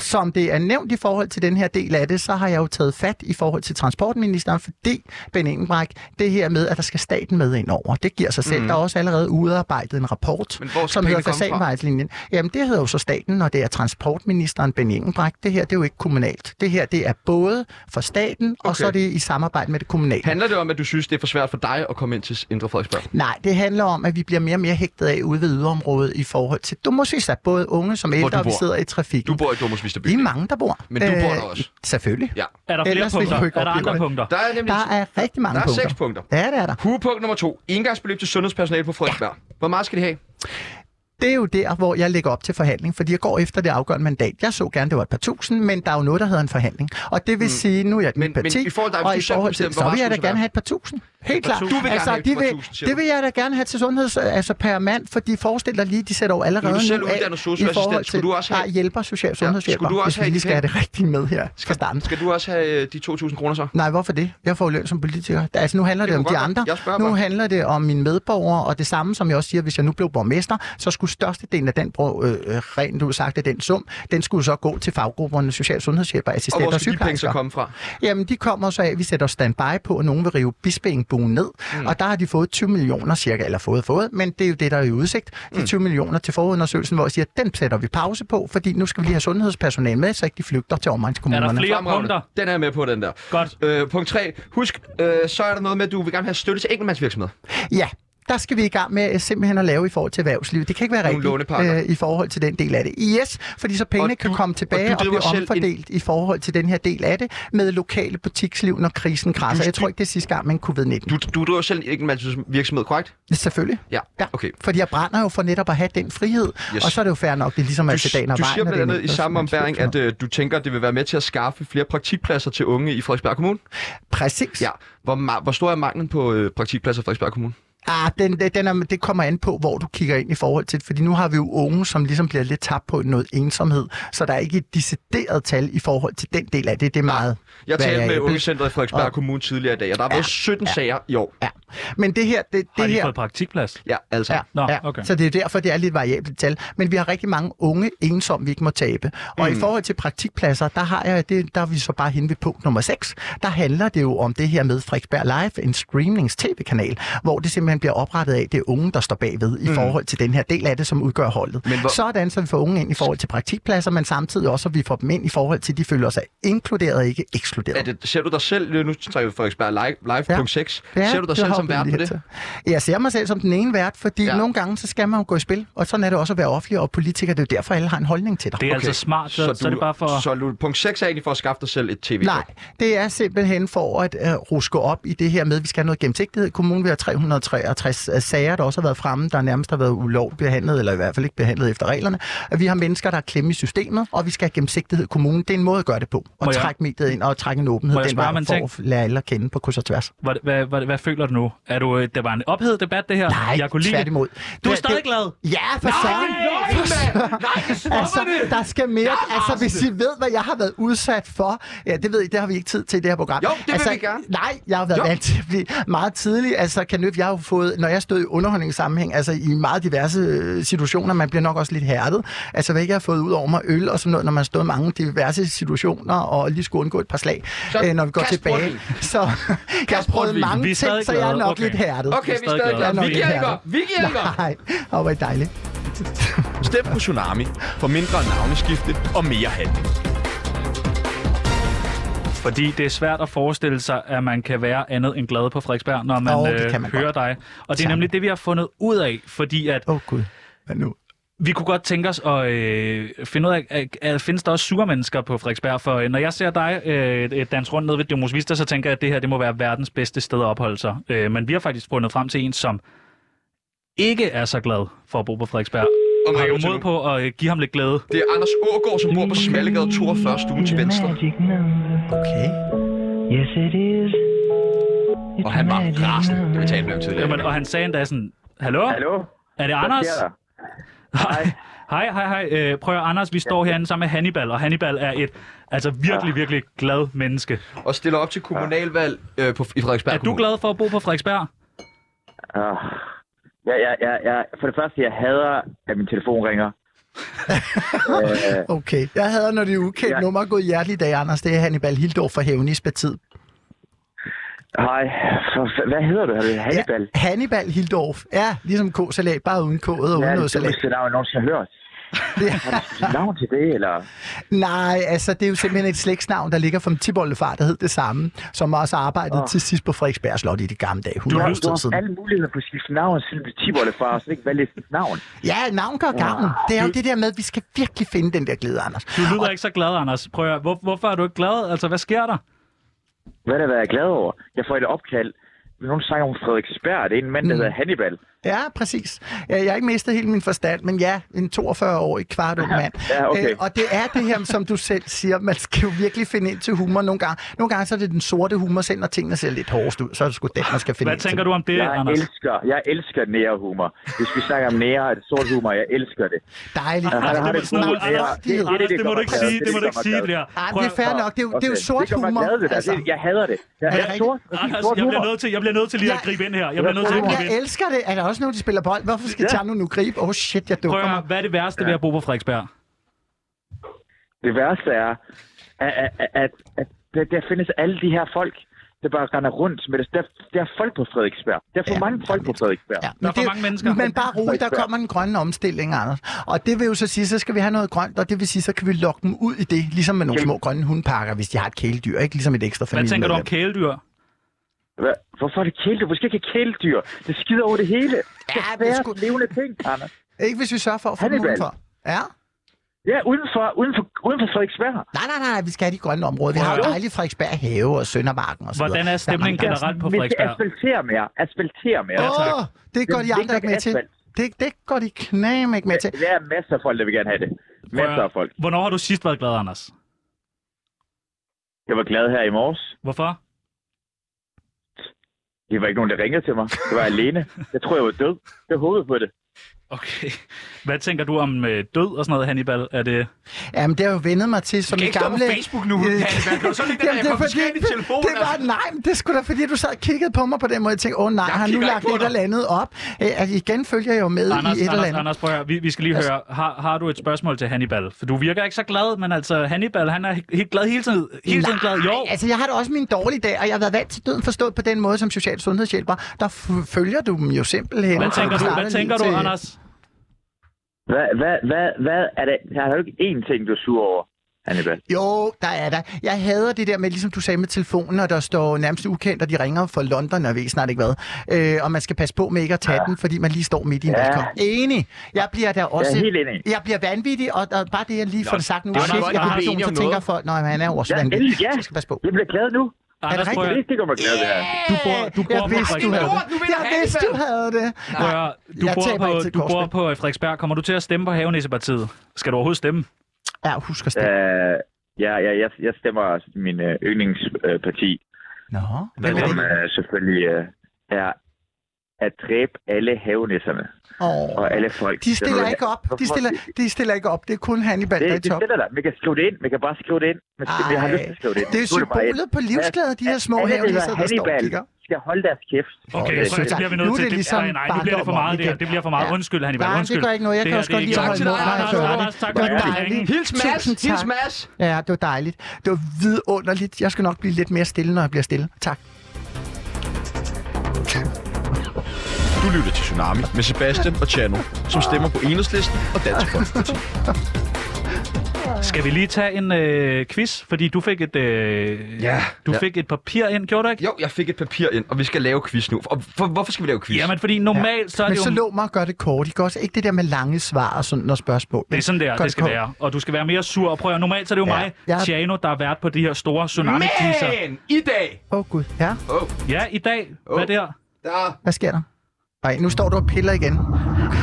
Som det er nævnt i forhold til den her del af det, så har jeg jo taget fat i forhold til transportministeren, fordi Ben Engelbrecht, det her med, at der skal staten med ind over, det giver sig selv.
Mhm.
Mm.
Mm. Der er også allerede udarbejdet en rapport,
Men hvor skal
som
pengene
hedder
komme fra?
Fasanvejslinjen. Jamen, det hedder jo så staten, og det er transportministeren Ben Engelbrecht. Det her, det er jo ikke kommunalt. Det her, det er både for staten, okay. og så er det i samarbejde med det kommunale.
Handler det om, at du synes, det er for svært for dig at komme ind til Indre Frederiksberg?
Nej, det handler om, at vi bliver mere og mere hægtet af ude ved yderområdet i forhold til domosvisa. Både unge som
Hvor du
ældre, og vi
bor.
sidder i trafikken.
Du bor i Domus Vista
Vi er mange, der bor.
Men du bor
Øh,
der også?
Selvfølgelig.
Ja.
Er der flere
Ellers ville
punkter?
jeg jo ikke
Er der
opleve
andre
det.
punkter?
Der er, nemlig,
Der er rigtig mange
der er
punkter.
seks punkter.
Ja, det er der.
Hugepunkt nummer to. Indgangsbeløb til sundhedspersonale på Frederiksberg. Ja. Hvor meget skal de have?
Det er jo der, hvor jeg lægger op til forhandling, fordi jeg går efter det afgørende mandat. Jeg så gerne, det var et par tusind, men der er jo noget, der hedder en forhandling. Og det vil sige, nu er jeg et nyt
Mm. men
parti,
i forhold til dig, hvis
og
du
i
selv
forhold
bestemmer,
til,
hvor
så vil
meget
jeg da
skulle det
gerne
være?
have et par tusind. Helt
Et par
klart.
tusind. Du
Altså,
vil gerne have et
de
par
vil,
tusind, siger
det
du.
vil jeg da gerne have til sundheds, altså per mand, fordi forestil dig lige, de sætter jo allerede
Nu er du selv
nu af
uddannet
i forhold
sosu-assistent. Skulle
til,
du også have-
nej, hjælper, social,
skulle du
sundhedshjælper,
også
hvis
have
vi
de
lige skal have
penge?
det rigtige med her fra starten.
Skal du også have øh, de 2.000 kroner så?
Nej, hvorfor det? Jeg får jo løn som politiker. Altså, nu handler
Det
det, det om
kunne
de
godt være.
andre.
Jeg spørger
Nu
bare.
handler det om mine medborgere, og det samme, som jeg også siger, hvis jeg nu blev borgmester, så skulle størstedelen af den, bro, øh, øh, rent ud sagt, af den sum, den skulle så gå til faggrupperne, social- og sundhedshjælper,
Og
assistenter
hvor
og,
skal de penge så
sygeplejersker.
komme fra?
Jamen, de kommer så af, at vi sætter standby på, og nogen vil rive Bispeengbuen ned. Mm. Og der har de fået 20 millioner cirka, eller fået fået, men det er jo det, der er i udsigt.
Mm.
De 20 millioner til forundersøgelsen, hvor jeg siger, den sætter vi pause på, fordi nu skal vi lige have sundhedspersonale med, så ikke de flygter til omegnskommunerne.
Fremragende. Den er jeg med på, den der.
Godt.
Øh, punkt 3. Husk, øh, så er der noget med, at du vil gerne have støtte til enkeltmandsvirksomheder.
Ja, der skal vi i gang med øh, simpelthen at lave i forhold til erhvervslivet. Det kan ikke være
Nogle lånepakker.
rigtigt øh, i forhold til den del af det. Yes, fordi så pengene kan komme tilbage
du
og, og
driver
blive
selv en-
omfordelt en... i forhold til den her del af det med lokale butiksliv, når krisen krasser. Jeg tror ikke, det er sidste gang, man covid-19.
Du, du driver selv en enkeltmandsvirksomhed, korrekt?
Selvfølgelig.
Ja, okay.
Fordi jeg brænder jo for netop at have den frihed,
Yes.
yes. og så er det jo fair nok, det er ligesom
Du,
at til dagen og
du
vejen.
siger
når det
blandt
er
andet
en
i samme ombæring, at øh, du tænker, at det vil være med til at skaffe flere praktikpladser til unge i Frederiksberg Kommune.
Præcis.
Ja. Hvor, ma- hvor stor er manglen på øh, praktikpladser i Frederiksberg Kommune?
Ah, den, den- den er, det kommer an på, hvor du kigger ind i forhold til det, fordi nu har vi jo unge, som ligesom bliver lidt tabt på noget ensomhed, så der er ikke et decideret tal i forhold til den del af det. Det er meget
Jeg talte med
variabelt.
Ungecentret i Frederiksberg
Og-
Kommune tidligere i dag, og der har været 17 sager i år.
Ja. Men det her... Det,
Har
det
de
her,
fået
praktikplads?
Ja, altså.
Ja,
Nå,
ja.
okay.
Så det er derfor, det er lidt variabelt tal. Men vi har rigtig mange unge ensomme, vi ikke må tabe. Og
Mm.
i forhold til praktikpladser, der, har jeg det, der er vi så bare henne ved punkt nummer 6. Der handler det jo om det her med Frederiksberg Live, en streamings-tv-kanal, hvor det simpelthen bliver oprettet af, det er unge, der står bagved i
Mm.
forhold til den her del af det, som udgør holdet.
Men hvor-
Sådan, så vi får unge ind i forhold til praktikpladser, men samtidig også, at vi får dem ind i forhold til, at de føler sig inkluderet og ikke ekskluderet.
Er det, ser du dig selv, nu trækker vi Frederiksberg Live, live ja. punkt 6,
Ja,
ser du dig
det
selv
har
som
vi
vært på
lige
det?
til. Jeg ser mig selv som den ene vært, fordi ja. nogle gange så skal man jo gå i spil, og sådan er det også at være offentlig og politiker. Det er jo derfor, alle har en holdning til dig. Altså,
du, Så du, punkt 6 er egentlig for at skaffe dig selv et tv
Nej, det er simpelthen for at øh, ruske op i det her med, at vi skal have noget gennemsigtighed. Kommunen vil have 363 øh, sager, der også har været fremme, der nærmest har været ulovligt behandlet, eller i hvert fald ikke behandlet efter reglerne. At vi har mennesker, der er klemme i systemet, og vi skal have gennemsigtighed i kommunen. Det er en måde at gøre det på.
Må
Og
jeg-
trække mediet ind og trække en
Må
åbenhed
jeg
den
spørge om
vej
en
for
ting?
at lade alle at kende på kryds og tværs.
Hvad, hvad, hvad, hvad føler du nu? Er du, øh, det var en ophedet debat, det her? Nej, jeg kunne lide det.
tværtimod.
Du er
Det-
stadig
det-
glad?
Ja, for
Nej,
søren.
nej,
For søren.
stopper
altså,
det.
der skal mere.
Jeg er
altså, hvis
rasende.
I ved, hvad jeg har været udsat for. Ja, det ved I, det har vi ikke tid til i det her program.
Jo, det vil
altså,
vi gerne.
Nej, jeg har været vant til at blive meget tidlig. Altså, kan jeg har jo fået, når jeg stod i underholdningssammenhæng, altså i meget diverse øh, situationer, man bliver nok også lidt hærdet. Altså, hvad ikke jeg har fået ud over mig øl og sådan noget, når man har stået i mange diverse situationer og lige skulle undgå et par slag,
Så
øh, når vi går
kast
tilbage.
portvin.
Så jeg har prøvet
portvin.
mange
Vi er
ting,
stadig
så jeg er
glade.
nok
Okay.
lidt hærdet.
Okay, vi er stadig glade.
Jeg er nok
Vi
lidt
giver ikke
hærdet.
op. Vi giver ikke op.
Nej, og hvor er det dejligt.
Stem på Tsunami for mindre navneskifte og mere handling.
Fordi det er svært at forestille sig, at man kan være andet end glad på Frederiksberg, når man,
Åh,
oh,
det
øh,
kan man
hører
godt.
dig. Og det er
Sammen.
nemlig det, vi har fundet ud af, fordi at...
Åh oh, gud, hvad nu?
Vi kunne godt tænke os at øh, finde ud af, at, at findes der også sure mennesker på Frederiksberg? For øh, når jeg ser dig øh, danse rundt ned ved Demos Vista, så tænker jeg, at det her det må være verdens bedste sted at opholde sig. Øh, men vi har faktisk fundet frem til en, som ikke er så glad for at bo på Frederiksberg.
Og
har
rækker ud
du
til
mod på at øh, give ham lidt glæde?
Det er Anders Ågaard, som bor på Smallegade 42, stuen til venstre.
Okay.
Yes, it is.
Og han var rasende, da vi talte med ham tidligere.
Jamen, og han sagde endda sådan, Hallo?
Hallo?
Er det
Hvad
Anders?
sker der?
Hej. hej, hej, hej. Øh, prøv at høre, Anders, vi står herinde sammen med Hannibal, og Hannibal er et altså virkelig, virkelig glad menneske.
Og stiller op til kommunalvalg øh, på, i Frederiksberg
Er du glad for at bo på Frederiksberg?
Ah. Ja, ja, ja, ja. For det første, jeg hader, at min telefon ringer. øh,
Okay. Jeg havde, når det er ukendt ja. nummer, gået hjertelig dag, Anders. Det er Hannibal Hildorf fra Hævnis Partiet.
hej. For- Hvad hedder du? Hannibal?
Ja, Hannibal Hildorf. Ja, ligesom k-salat, bare uden k'et og uden
Ja,
noget
det
salat.
er navn, jeg nogensinde har hørt. Har du skiftet navn til det, eller?
Nej, altså det er jo simpelthen et slægtsnavn, der ligger fra en tiboldefar, der hed det samme, som også arbejdede
Åh.
til sidst på Frederiksberg Slot i de gamle dage.
Du har,
100
du
år
har
siden.
alle muligheder for at skifte navn, siden du er 10 fra, og så ikke valgte et navn.
Ja, navn gør gavn. Det er jo det der med, at vi skal virkelig finde den der glæde, Anders.
Du lyder ikke så glad, Anders. Prøv at høre, hvor, hvorfor er du ikke glad? Altså, hvad sker der?
Hvad er det, hvad jeg er glad over? Jeg får et opkald. Nogen snakker om Frederiksberg. Det er en mand, der
Mm.
hedder Hannibal.
Ja, præcis. Ja, Jeg har ikke mistet hele min forstand, men ja, en 42-årig kvart ung mand.
Ja, okay.
Øh, og det er det her, som du selv siger, man skal jo virkelig finde ind til humor nogle gange. Nogle gange så er det den sorte humor, selv når tingene ser lidt hårdest ud, så er det sgu den, man skal finde ind til.
jeg Elsker, jeg elsker nære humor. Hvis vi snakker om nære og det sort humor, jeg elsker det.
Dejligt.
Jeg har-
Altså, det,
har det gode
Anders,
nære.
Anders,
Det-
det, Anders, det, må
gør
du
mig
ikke
glad.
sige, det må du
gør
ikke
mig
sige,
glad.
det her.
Ej, men det er fair nok. Det er jo, det er jo
Okay.
sort
Det gør mig
humor. Altså-
glad, det der. Det- Jeg hader det. Jeg,
Er det
jeg,
rigtigt?
sort,
Anders,
sort
jeg bliver
humor.
nødt til, jeg bliver nødt til lige at gribe ind her. Jeg bliver nødt til at
Jamen,
gribe
Altså, jeg
ind.
elsker det. Er der også nogen, der spiller bold? Hvorfor skal
Ja.
ja. nu gribe? Åh, oh, shit, jeg
Prøv
dukker
at høre,
mig.
hvad er det værste ved at bo på Frederiksberg?
Det værste er, at, at, at, at, at der, der findes alle de her folk, der bare render rundt med det. Der, der er folk på Frederiksberg. Der er for mange folk på Frederiksberg. Ja,
Men det- Men bare roligt, der kommer den grønne omstilling, Anders. Og det vil jo så sige, så skal vi have noget grønt, og det vil sige, så kan vi lokke dem ud i det, ligesom med nogle små grønne hundpakker, hvis de har et kæledyr, ikke? Ligesom et ekstra
Hvad
familie.
tænker du om kæledyr?
Hva? Hvorfor er det kæledyr? Hvorfor skal jeg ikke have kæledyr? Det skider over det hele. Ja, det er sgu... levende ting, Anders.
Ikke hvis vi sørger for at få dem
Hannibal.
udenfor. Ja.
Ja, udenfor, udenfor, udenfor Frederiksberg.
Nej, nej, nej, vi skal have de grønne områder. Vi har jo dejligt Frederiksberg Have og Søndermarken og så videre. Der mange-
Vi skal asfaltere mere. Asfaltere mere.
Åh, det går de andre ikke med til. Det, det går de knæm ikke med til.
Der er masser af folk, der vil gerne have det. Masser af folk.
Hvornår har du sidst været glad, Anders?
Jeg var glad her i morges.
Hvorfor?
Det var ikke nogen, der ringede til mig. Det var alene. Jeg tror, jeg var død. Det håbede på det.
Okay. Hvad tænker du om øh, død og sådan noget, Hannibal? Er det...
Jamen, det har jeg jo vendet mig til som
kan
i
ikke stå på
gamle...
Facebook nu, Hannibal. Kan du så lige den
Jamen,
der
det er
konfiskere din telefon,
Det var,
altså?
nej, men det skulle da, fordi du sad og kiggede på mig på den måde. Jeg tænkte, åh nej,
Jeg
har han nu
kigger
lagt
ikke på
et
dig.
eller andet op? Øh, at igen følger jeg jo med
Anders,
i et eller
Anders,
andet.
Anders, prøv at høre. Vi, vi skal lige
Altså-
høre. Har, har du et spørgsmål til Hannibal? For du virker ikke så glad, men altså Hannibal, han er helt glad hele tiden. Hele tiden glad. Jo.
Nej, altså jeg har da også min dårlige dag, og jeg har været vant til døden forstået på den måde som social sundhedshjælper. Der f- følger du dem jo simpelthen.
Hvad
Så
tænker du,
starter
hvad
lige
tænker du
til-
Anders?
Hvad, hvad, hvad, hvad er det? Der er jo ikke én ting, du er sur over, Hannibal.
Jo, der er der. Jeg hader det der med, ligesom du sagde med telefonen, og der står nærmest ukendt, og de ringer fra London, og jeg ved snart ikke hvad. Øh, og man skal passe på med ikke at tage den, fordi man lige står midt i en
Ja.
valgkamp. Enig. Jeg bliver der også...
helt enig.
Jeg bliver vanvittig, og, og bare det, jeg lige får det sagt nu,
det
det
var
shit,
nok
jeg
godt,
bliver
at vi
person,
er enige
så
om
tænker
noget.
folk, nej, han er jo også
Ja,
vanvittig.
endelig, ja.
Så skal jeg passe på.
Jeg bliver glad nu.
Er det
Anders, prøv at-
rigtigt?
Det gør mig glad, det her.
Du bor, du bor
Jeg
på
vidste, du
Frederiksberg.
havde det. Jeg vidste, du havde det.
Prøv at høre, Du,
Jeg taber
bor
ikke
på,
til
du bor
Korsbæk.
på øh, Frederiksberg. Kommer du til at stemme på Havenæssepartiet? Skal du overhovedet stemme?
Ja, husk at stemme.
Øh, ja, ja, jeg, jeg stemmer min øh, yndlingsparti,
Nå,
øh, som øh, selvfølgelig øh, er at dræbe alle havenisserne
Åh.
og alle folk.
De stiller
Det er
ikke op. De
Hvorfor-
stiller, de stiller ikke op. Det er kun Hannibal, der er i
Det, det
top.
stiller der. Man kan skrive det ind. Man kan bare skrive det ind. Man skal, jeg har lyst til at skrive det ind.
det er
Skriv bare ind.
symbolet på livsglæder, de her små
Alle, der
havenisser,
hedder
der står og
Hannibal,
kigger.
skal holde deres kæft.
Okay, så det bliver vi nødt
nu er
til.
det ligesom
nej, nej, nu bliver det for
barndom
meget. Det, her.
igen.
det bliver for meget.
Ja.
Undskyld, Hannibal.
Nej,
undskyld.
det gør ikke noget. Jeg kan
her,
også
det er
godt lide
ikke-
at holde mund, når jeg
Anders,
hører
Anders,
det.
tak
Det
for det.
var dejligt. Tusind tak. Ja, det var dejligt. Det var vidunderligt. Jeg skal nok blive lidt mere stille, når jeg bliver stille. Tak.
Du lytter til Tsunami med Sebastian og Chano, som stemmer
altså.
på Enhedslisten og Dansk Folkeparti.
Skal vi lige tage en øh, quiz? Fordi du fik et... Øh,
Ja.
Du
Ja.
fik et papir ind, gjorde du ikke?
Jo, jeg fik et papir ind, og vi skal lave quiz nu. Og for, hvorfor skal vi lave quiz?
Jamen, fordi normalt ja. så er
Men
det jo...
så lå mig at gøre det kort. I går også ikke det der med lange svar og sådan noget spørgsmål.
Det er sådan der,
Gør
det skal
kort.
være. Og du skal være mere sur. Og prøv at, høre, normalt så er det jo
Ja.
mig,
Jeg-
Tjano, der er vært på de her store tsunami quizzer
Men i dag,
Åh oh, gud, ja.
Ja, i dag. Hvad der?
Hvad sker der? Nej, nu står du og piller igen.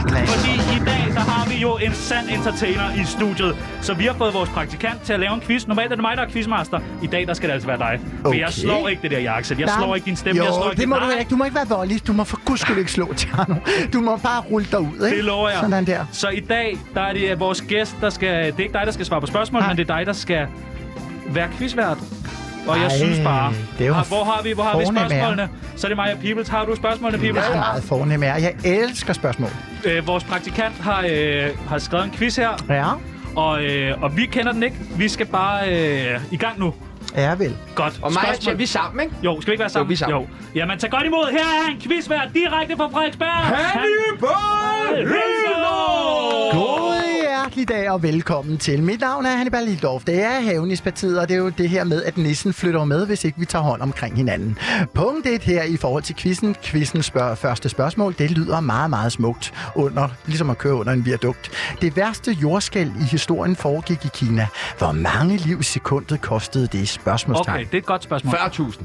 Fordi i dag, så har vi jo en sand entertainer i studiet. Så vi har fået vores praktikant til at lave en quiz. Normalt er det mig, der er quizmaster. I dag, der skal det altså være dig. Okay. For jeg slår ikke det der jakkesæt. Jeg slår ikke din stemme.
Jo,
jeg slår
det
ikke
må
dit-
du ikke. Du må ikke være voldelig. Du må for guds skyld ikke slå, Tjerno. Du må bare rulle dig ud, ikke?
Det lover jeg.
Sådan der.
Så i dag, der er det øh, vores gæst, der skal... Det er ikke dig, der skal svare på spørgsmål, men det er dig, der skal være quizvært. Og jeg
Ej,
synes bare...
det er jo
Ah, hvor har vi, hvor har vi
fornem, ja.
spørgsmålene? Så er det mig og Peoples. Har du spørgsmålene, Peoples?
Jeg er meget fornem af jer. Jeg elsker spørgsmål.
Øh, vores praktikant har, øh, har skrevet en quiz her.
Ja.
Og, øh, og vi kender den ikke. Vi skal bare øh, i gang nu.
Ja, vel.
Godt.
Og mig og
Spørgsmål-
Tjep, vi er sammen, ikke?
Jo, skal vi ikke være sammen?
Jo, vi er sammen.
Jo. Jamen, tag godt imod. Her er en quizvært direkte fra Frederiksberg. Hannibal
God hjertelig dag og velkommen til. Mit navn er Hannibal Lidorf. Det er Havnispartiet, og det er jo det her med, at nissen flytter med, hvis ikke vi tager hånd omkring hinanden. Punkt 1 her i forhold til quizzen. Quizzen spørg, første spørgsmål, det lyder meget, meget smukt. Under, ligesom at køre under en viadukt. Det værste jordskæl i historien foregik i Kina. Hvor mange liv i sekundet kostede det? Spørgsmålstegn.
Okay, det er et godt spørgsmål.
40.000.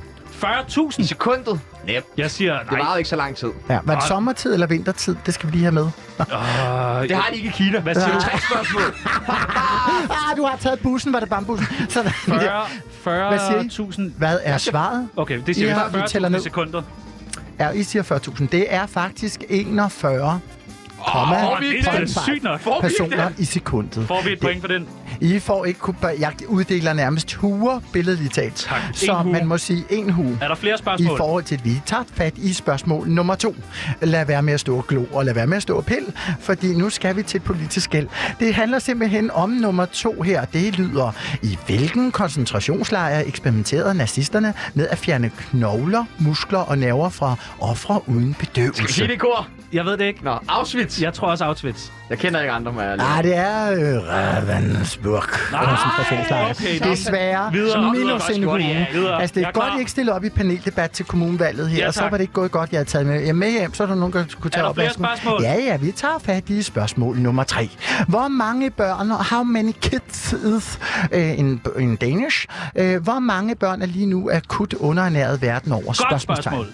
40.000? I
sekundet? Næp.
Jeg siger nej.
Det varede ikke så lang tid.
Ja, var det sommertid eller vintertid? Det skal vi lige have med.
Uh,
Det har de ikke i Kina. Hvad
siger du?
Tre spørgsmål.
ah, du har taget bussen, var det bambussen? Sådan der.
40
Hvad siger I?
40.000.
Hvad er svaret?
Okay, det siger
Ja,
ja, vi.
vi tæller
40.000
ned.
sekunder.
Ja, I siger 40.000. Det er faktisk 41 komma
hvor er det
fem
da sygt nok. Får vi
personer
det?
i sekundet.
Får vi et point for den?
I får ikke kun... Jeg uddeler nærmest huer, billedligt talt.
Tak.
Så
En hue.
man må sige en hue.
Er der flere spørgsmål?
I forhold til, at vi tager fat i spørgsmål nummer to. Lad være med at stå og glo, og lad være med at stå og pille, fordi nu skal vi til et politisk gæld. Det handler simpelthen om nummer to her. Det lyder, i hvilken koncentrationslejr eksperimenterede nazisterne med at fjerne knogler, muskler og nerver fra ofre uden bedøvelse?
Skal vi sige det i kor?
Jeg ved det ikke.
Nå, Auschwitz.
Jeg tror også Auschwitz.
Jeg kender ikke andre, må jeg
Nej, det er øh, Ravensburg.
Ah,
Nej,
okay.
Desværre.
Videre.
Minus en
Videre.
kommune.
Ja, videre.
Altså, det er,
Jeg er
godt,
klar.
I ikke stille op i paneldebat til kommunvalget her.
Ja,
og så
tak.
var det ikke gået godt, jeg havde taget med, jer med hjem. Så er der nogen, der kunne tage
der flere
opvasken.
spørgsmål?
Ja, ja, vi tager fat i spørgsmål nummer tre. Hvor mange børn, og how many kids is øh, in, in Danish? Øh, hvor mange børn er lige nu akut underernæret verden over?
Godt spørgsmål.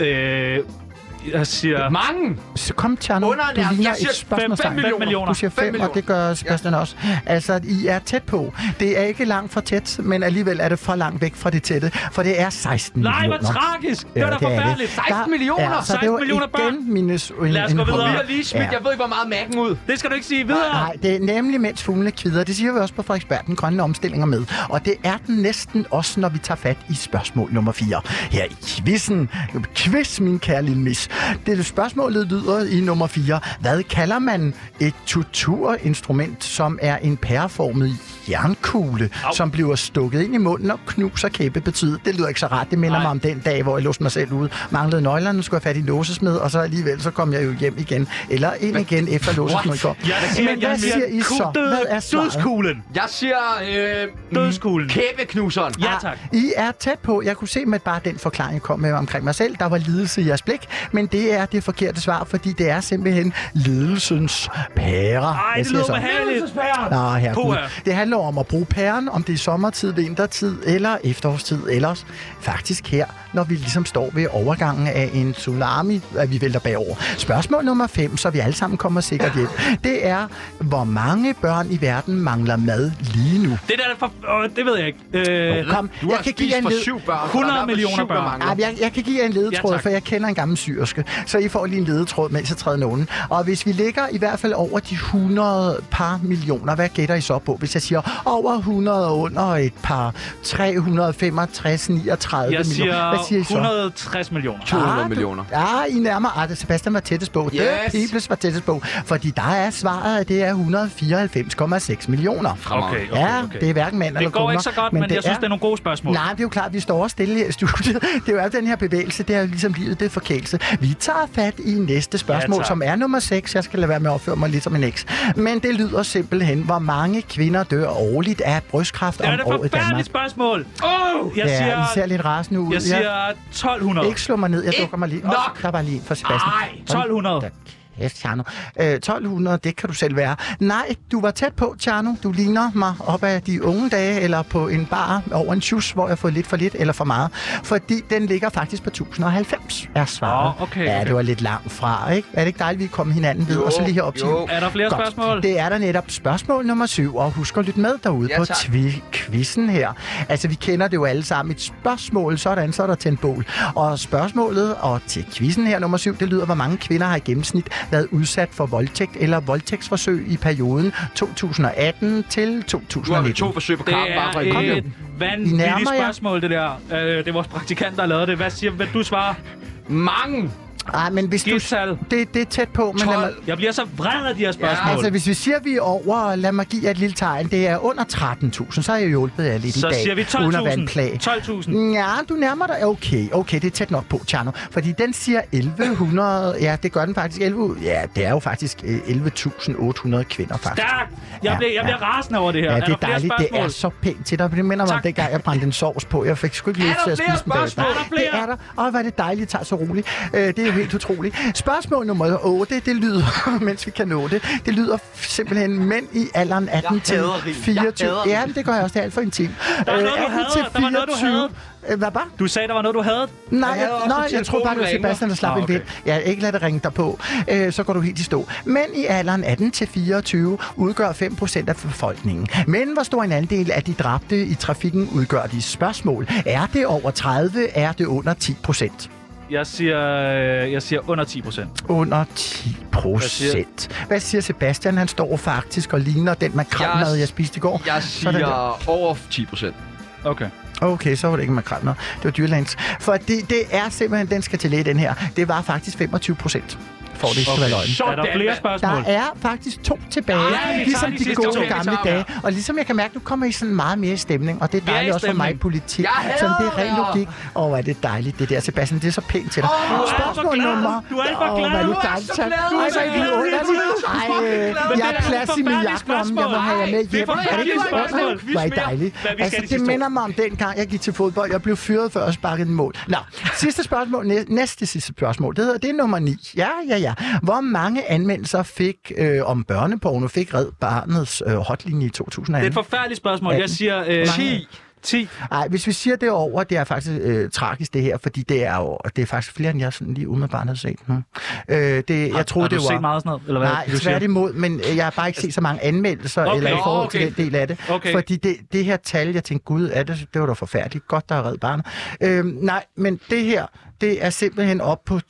Øh, jeg siger...
Ah. Mange!
Så kom, Tjerno.
Underernæret.
Du ligner
Jeg siger
et spørgsmålstegn.
fem- fem millioner.
Du siger
Fem
5,
millioner.
og det gør Sebastian ja. også. Altså, I er tæt på. Det er ikke langt fra tæt, men alligevel er det for langt væk fra det tætte, for det er 16
Nej,
millioner.
hvor tragisk! Det var da
Øh, er
forfærdeligt. 16
Der-
millioner!
Ja, så
16
det var
millioner børn.
igen minus en,
Lad os
en
gå videre.
hundrede.
Vi har lige smidt, jeg ved ikke, hvor meget mærken ud.
Det skal du ikke sige videre.
Nej, det er nemlig mens fuglene kvider. Det siger vi også på Frederiksberg, den grønne omstilling er med. Og det er den næsten også, når vi tager fat i spørgsmål nummer 4. Her i quizzen. Quiz, min kære lille mis. Det spørgsmålet lyder i nummer 4. Hvad kalder man et torturinstrument, som er en pæreformet jernkugle, Au. som bliver stukket ind i munden og knuser kæbebetydet? Det lyder ikke så rart. Det minder mig om den dag, hvor jeg låste mig selv ude, manglede nøglerne, skulle have fat i en låsesmed, og så alligevel så kom jeg jo hjem igen. Eller ind igen efter låsesmed går.
Jeg siger,
Men
jeg
hvad siger I så?
Død,
Hvad er svaret? Mm.
Dødskuglen.
Jeg siger... Øh,
Dødskuglen.
Kæbeknuseren.
Ja,
Ah.
tak.
I er tæt på. Jeg kunne se med bare den forklaring, jeg kom med omkring mig selv. Der var lidelse i jeres blik, men det er det forkerte svar, fordi det er simpelthen lidelsens pære.
Ej, det lyder behageligt.
Nå, herregud.
Puha.
Det handler om at bruge pæren, om det er sommertid, vintertid eller efterårstid. Ellers faktisk her, når vi ligesom står ved overgangen af en tsunami, at vi vælter bagover. Spørgsmål nummer 5, så vi alle sammen kommer sikkert hjem. Det er, hvor mange børn i verden mangler mad lige nu?
Det der, er for, åh, det ved jeg ikke. Øh,
Kom, jeg kan give jer en led.
børn.
100 millioner børn.
Ja, jeg, jeg kan give jer en ledetråd,
Ja,
ja,
tak.
for jeg kender en gammel syrske. Så I får lige en ledetråd, mens jeg træder nogen. Og hvis vi ligger i hvert fald over de 100 par millioner, hvad gætter I så på? Hvis jeg siger over 100 og under et par 365, 39
Jeg
millioner. Hvad siger I
siger
så?
160 millioner.
Ah, du- Ja, I nærmer. Ah, det Sebastian var tættest på. Yes.
Yes.
Det Pibels var tættest på. Fordi der er svaret, at det er 194,6 millioner.
Okay, okay,
ja,
okay.
det er hverken mand eller
Det går
koner,
ikke så godt, men, jeg synes, det er nogle gode spørgsmål.
Nej, det er jo klart, vi står også stille her i studiet. Det er jo al den her bevægelse, det er jo ligesom livet, det er forkælelse. Vi tager fat i næste spørgsmål,
Ja,
ja,
tak.
som er nummer 6. Jeg skal lade være med at opføre mig lidt som en eks. Men det lyder simpelthen, hvor mange kvinder dør årligt af brystkræft
Det er
om
da et
året i Danmark.
forfærdeligt spørgsmål. Oh, jeg
ja,
siger,
I ser lidt rasende ud.
jeg siger
Ja.
1200.
Ikke slå mig ned, jeg dukker mig lige.
Nok.
Oh, der var lige en for Sebastian.
Ej, 1200.
Kæft, Tjerno. Øh, 1200, det kan du selv være. Nej, du var tæt på, Tjerno. Du ligner mig op af de unge dage, eller på en bar over en tjus, hvor jeg har fået lidt for lidt eller for meget. Fordi den ligger faktisk på 1090, er svaret.
Åh, okay,
ja,
okay.
det var lidt langt fra, ikke? Er det ikke dejligt, at vi kom hinanden ved, og så lige herop til...
Er der flere spørgsmål?
Det er der netop spørgsmål nummer syv, og husk at lytte med derude
Ja,
på
tak.
tvi- quizzen her. Altså, vi kender det jo alle sammen. Et spørgsmål, sådan, så er der tændt bål. Og spørgsmålet og til quizzen her nummer syv, det lyder, hvor mange kvinder har i gennemsnit været udsat for voldtægt eller voldtægtsforsøg i perioden 2018 til 2019.
Du har vel to forsøg på
Det
kampen, bare for at
er
komme
et
hjem.
vanvittigt
Nærmer jer.
spørgsmål, det der. Øh, det er vores praktikant, der har lavet det. Hvad siger hvad du svarer?
Mange!
Ej, men hvis
du...
Det, det er tæt på, men lad mig,
12. Jeg bliver så vred af de her spørgsmål.
Ja, altså, hvis vi siger, vi er over, lad mig give jer et lille tegn, det er under 13.000, så har jeg hjulpet jer lidt
Så
i dag.
siger vi 12.000.
Under vandplag.
12.000.
Ja, du nærmer dig. Okay, okay, det er tæt nok på, Tjerno. Fordi den siger 1100. Ja, det gør den faktisk. 11, ja, det er jo faktisk øh, 11.800 kvinder, faktisk.
Stærkt! Jeg, bliver, jeg bliver rasende over det her.
Ja, det er,
der flere
dejligt. Det er
spørgsmål?
så pænt til dig. Det minder mig om dengang, jeg brændte en sovs på. Jeg fik sgu ikke
Er
lige
der
til at
flere
spise den bagefter.
spørgsmål? Er der flere?
Det er der. Åh, hvor er det dejligt, I tager så roligt. Øh, det er jo helt utroligt. Spørgsmål nummer 8, det lyder, mens vi kan nå det, det lyder simpelthen mænd i alderen 18 til
hader rim. Jeg
24.
hader rim.
Ja, men det gør jeg også. Det er alt for intimt.
Der var
Øh,
noget, du
18
havde.
til
Der var noget, du
24.
havde.
Øh, Hvad bare?
Du sagde, der var noget, du havde.
Nej, jeg, nej, jeg tror bare, det var Sebastian, der slap ah, okay. en vind. Ja, ikke lad det ringe dig på. Øh, så går du helt i stå. Mænd i alderen 18-24 udgør 5% af befolkningen. Men hvor stor en andel af de dræbte i trafikken udgør de spørgsmål? Er det over 30? Er det under 10%?
Jeg siger, øh, jeg siger under 10 procent.
Under 10
Hvad siger-
procent. Hvad siger Sebastian? Han står faktisk og ligner den makrelmad, jeg,
Jeg-
jeg spiste i går.
Jeg
Sådan der.
siger over 10 procent.
Okay.
Okay, så var det ikke makrel noget. Det var dyrlands. Fordi det er simpelthen, den skal til læge, den her. Det var faktisk 25 procent. For det ikke
Okay.
skal være løgn.
Sådan, Er der flere mand. spørgsmål?
Der er faktisk to tilbage,
Ja, vi
ja,
tager
ligesom
de
de
sidste
gode
to.
gamle
Ja.
dage. Og ligesom jeg kan mærke, nu kommer I sådan meget mere i stemning, og det er
Vi er i
dejligt også for mig i
stemning.
politik.
Jeg hader
Som det er ren
jer.
logik. Åh, oh, hvor er det dejligt, det der, Sebastian. Det er så pænt til dig.
Åh, du er alt for
Spørgsmål
glad.
nummer...
Du er alt for
Åh, hvor
glad.
det
Du er så
dejligt.
glad. Du er
Ej, hvor er
så glad hele tiden.
det
Du er så glad.
Ej, jeg
Det
har
er
plads i min
forfærdelige
jakkelomme. Jeg må have jer med
spørgsmål.
hjem.
Det er
Er det
forfærdelige
ikke spørgsmål?
spørgsmål.
Hvor er
Quiz
det
mere.
dejligt.
Hvad vi skal
Altså,
de
det
sidste to.
minder mig om dengang, jeg gik til fodbold. Jeg blev fyret før jeg sparkede en mål. Nå, sidste spørgsmål. Næ- Næste sidste spørgsmål. Det hedder, det er nummer 9. Ja, ja, ja. Hvor mange anmeldelser fik øh, om børneporno fik Red Barnets øh, hotlinje i 2018?
Det er et forfærdeligt spørgsmål. Jeg siger øh, 10. 10.
Nej, hvis vi siger det over, det er faktisk øh, tragisk det her, fordi det er jo, det er faktisk flere, end jeg sådan lige umiddelbart har set. Hmm. Øh, det,
Har-
jeg troede,
har du
det var...
set meget sådan noget, eller hvad?
Nej,
Du siger-
tværtimod, men øh, jeg har bare ikke set så mange anmeldelser
Okay.
okay. eller i
Nå,
forhold
okay.
okay. til den del af det.
Okay.
Fordi det, det her tal, jeg tænkte, gud, er det, det var da forfærdeligt. Godt, der er reddet barnet. Øh, nej, men det her, det er simpelthen op på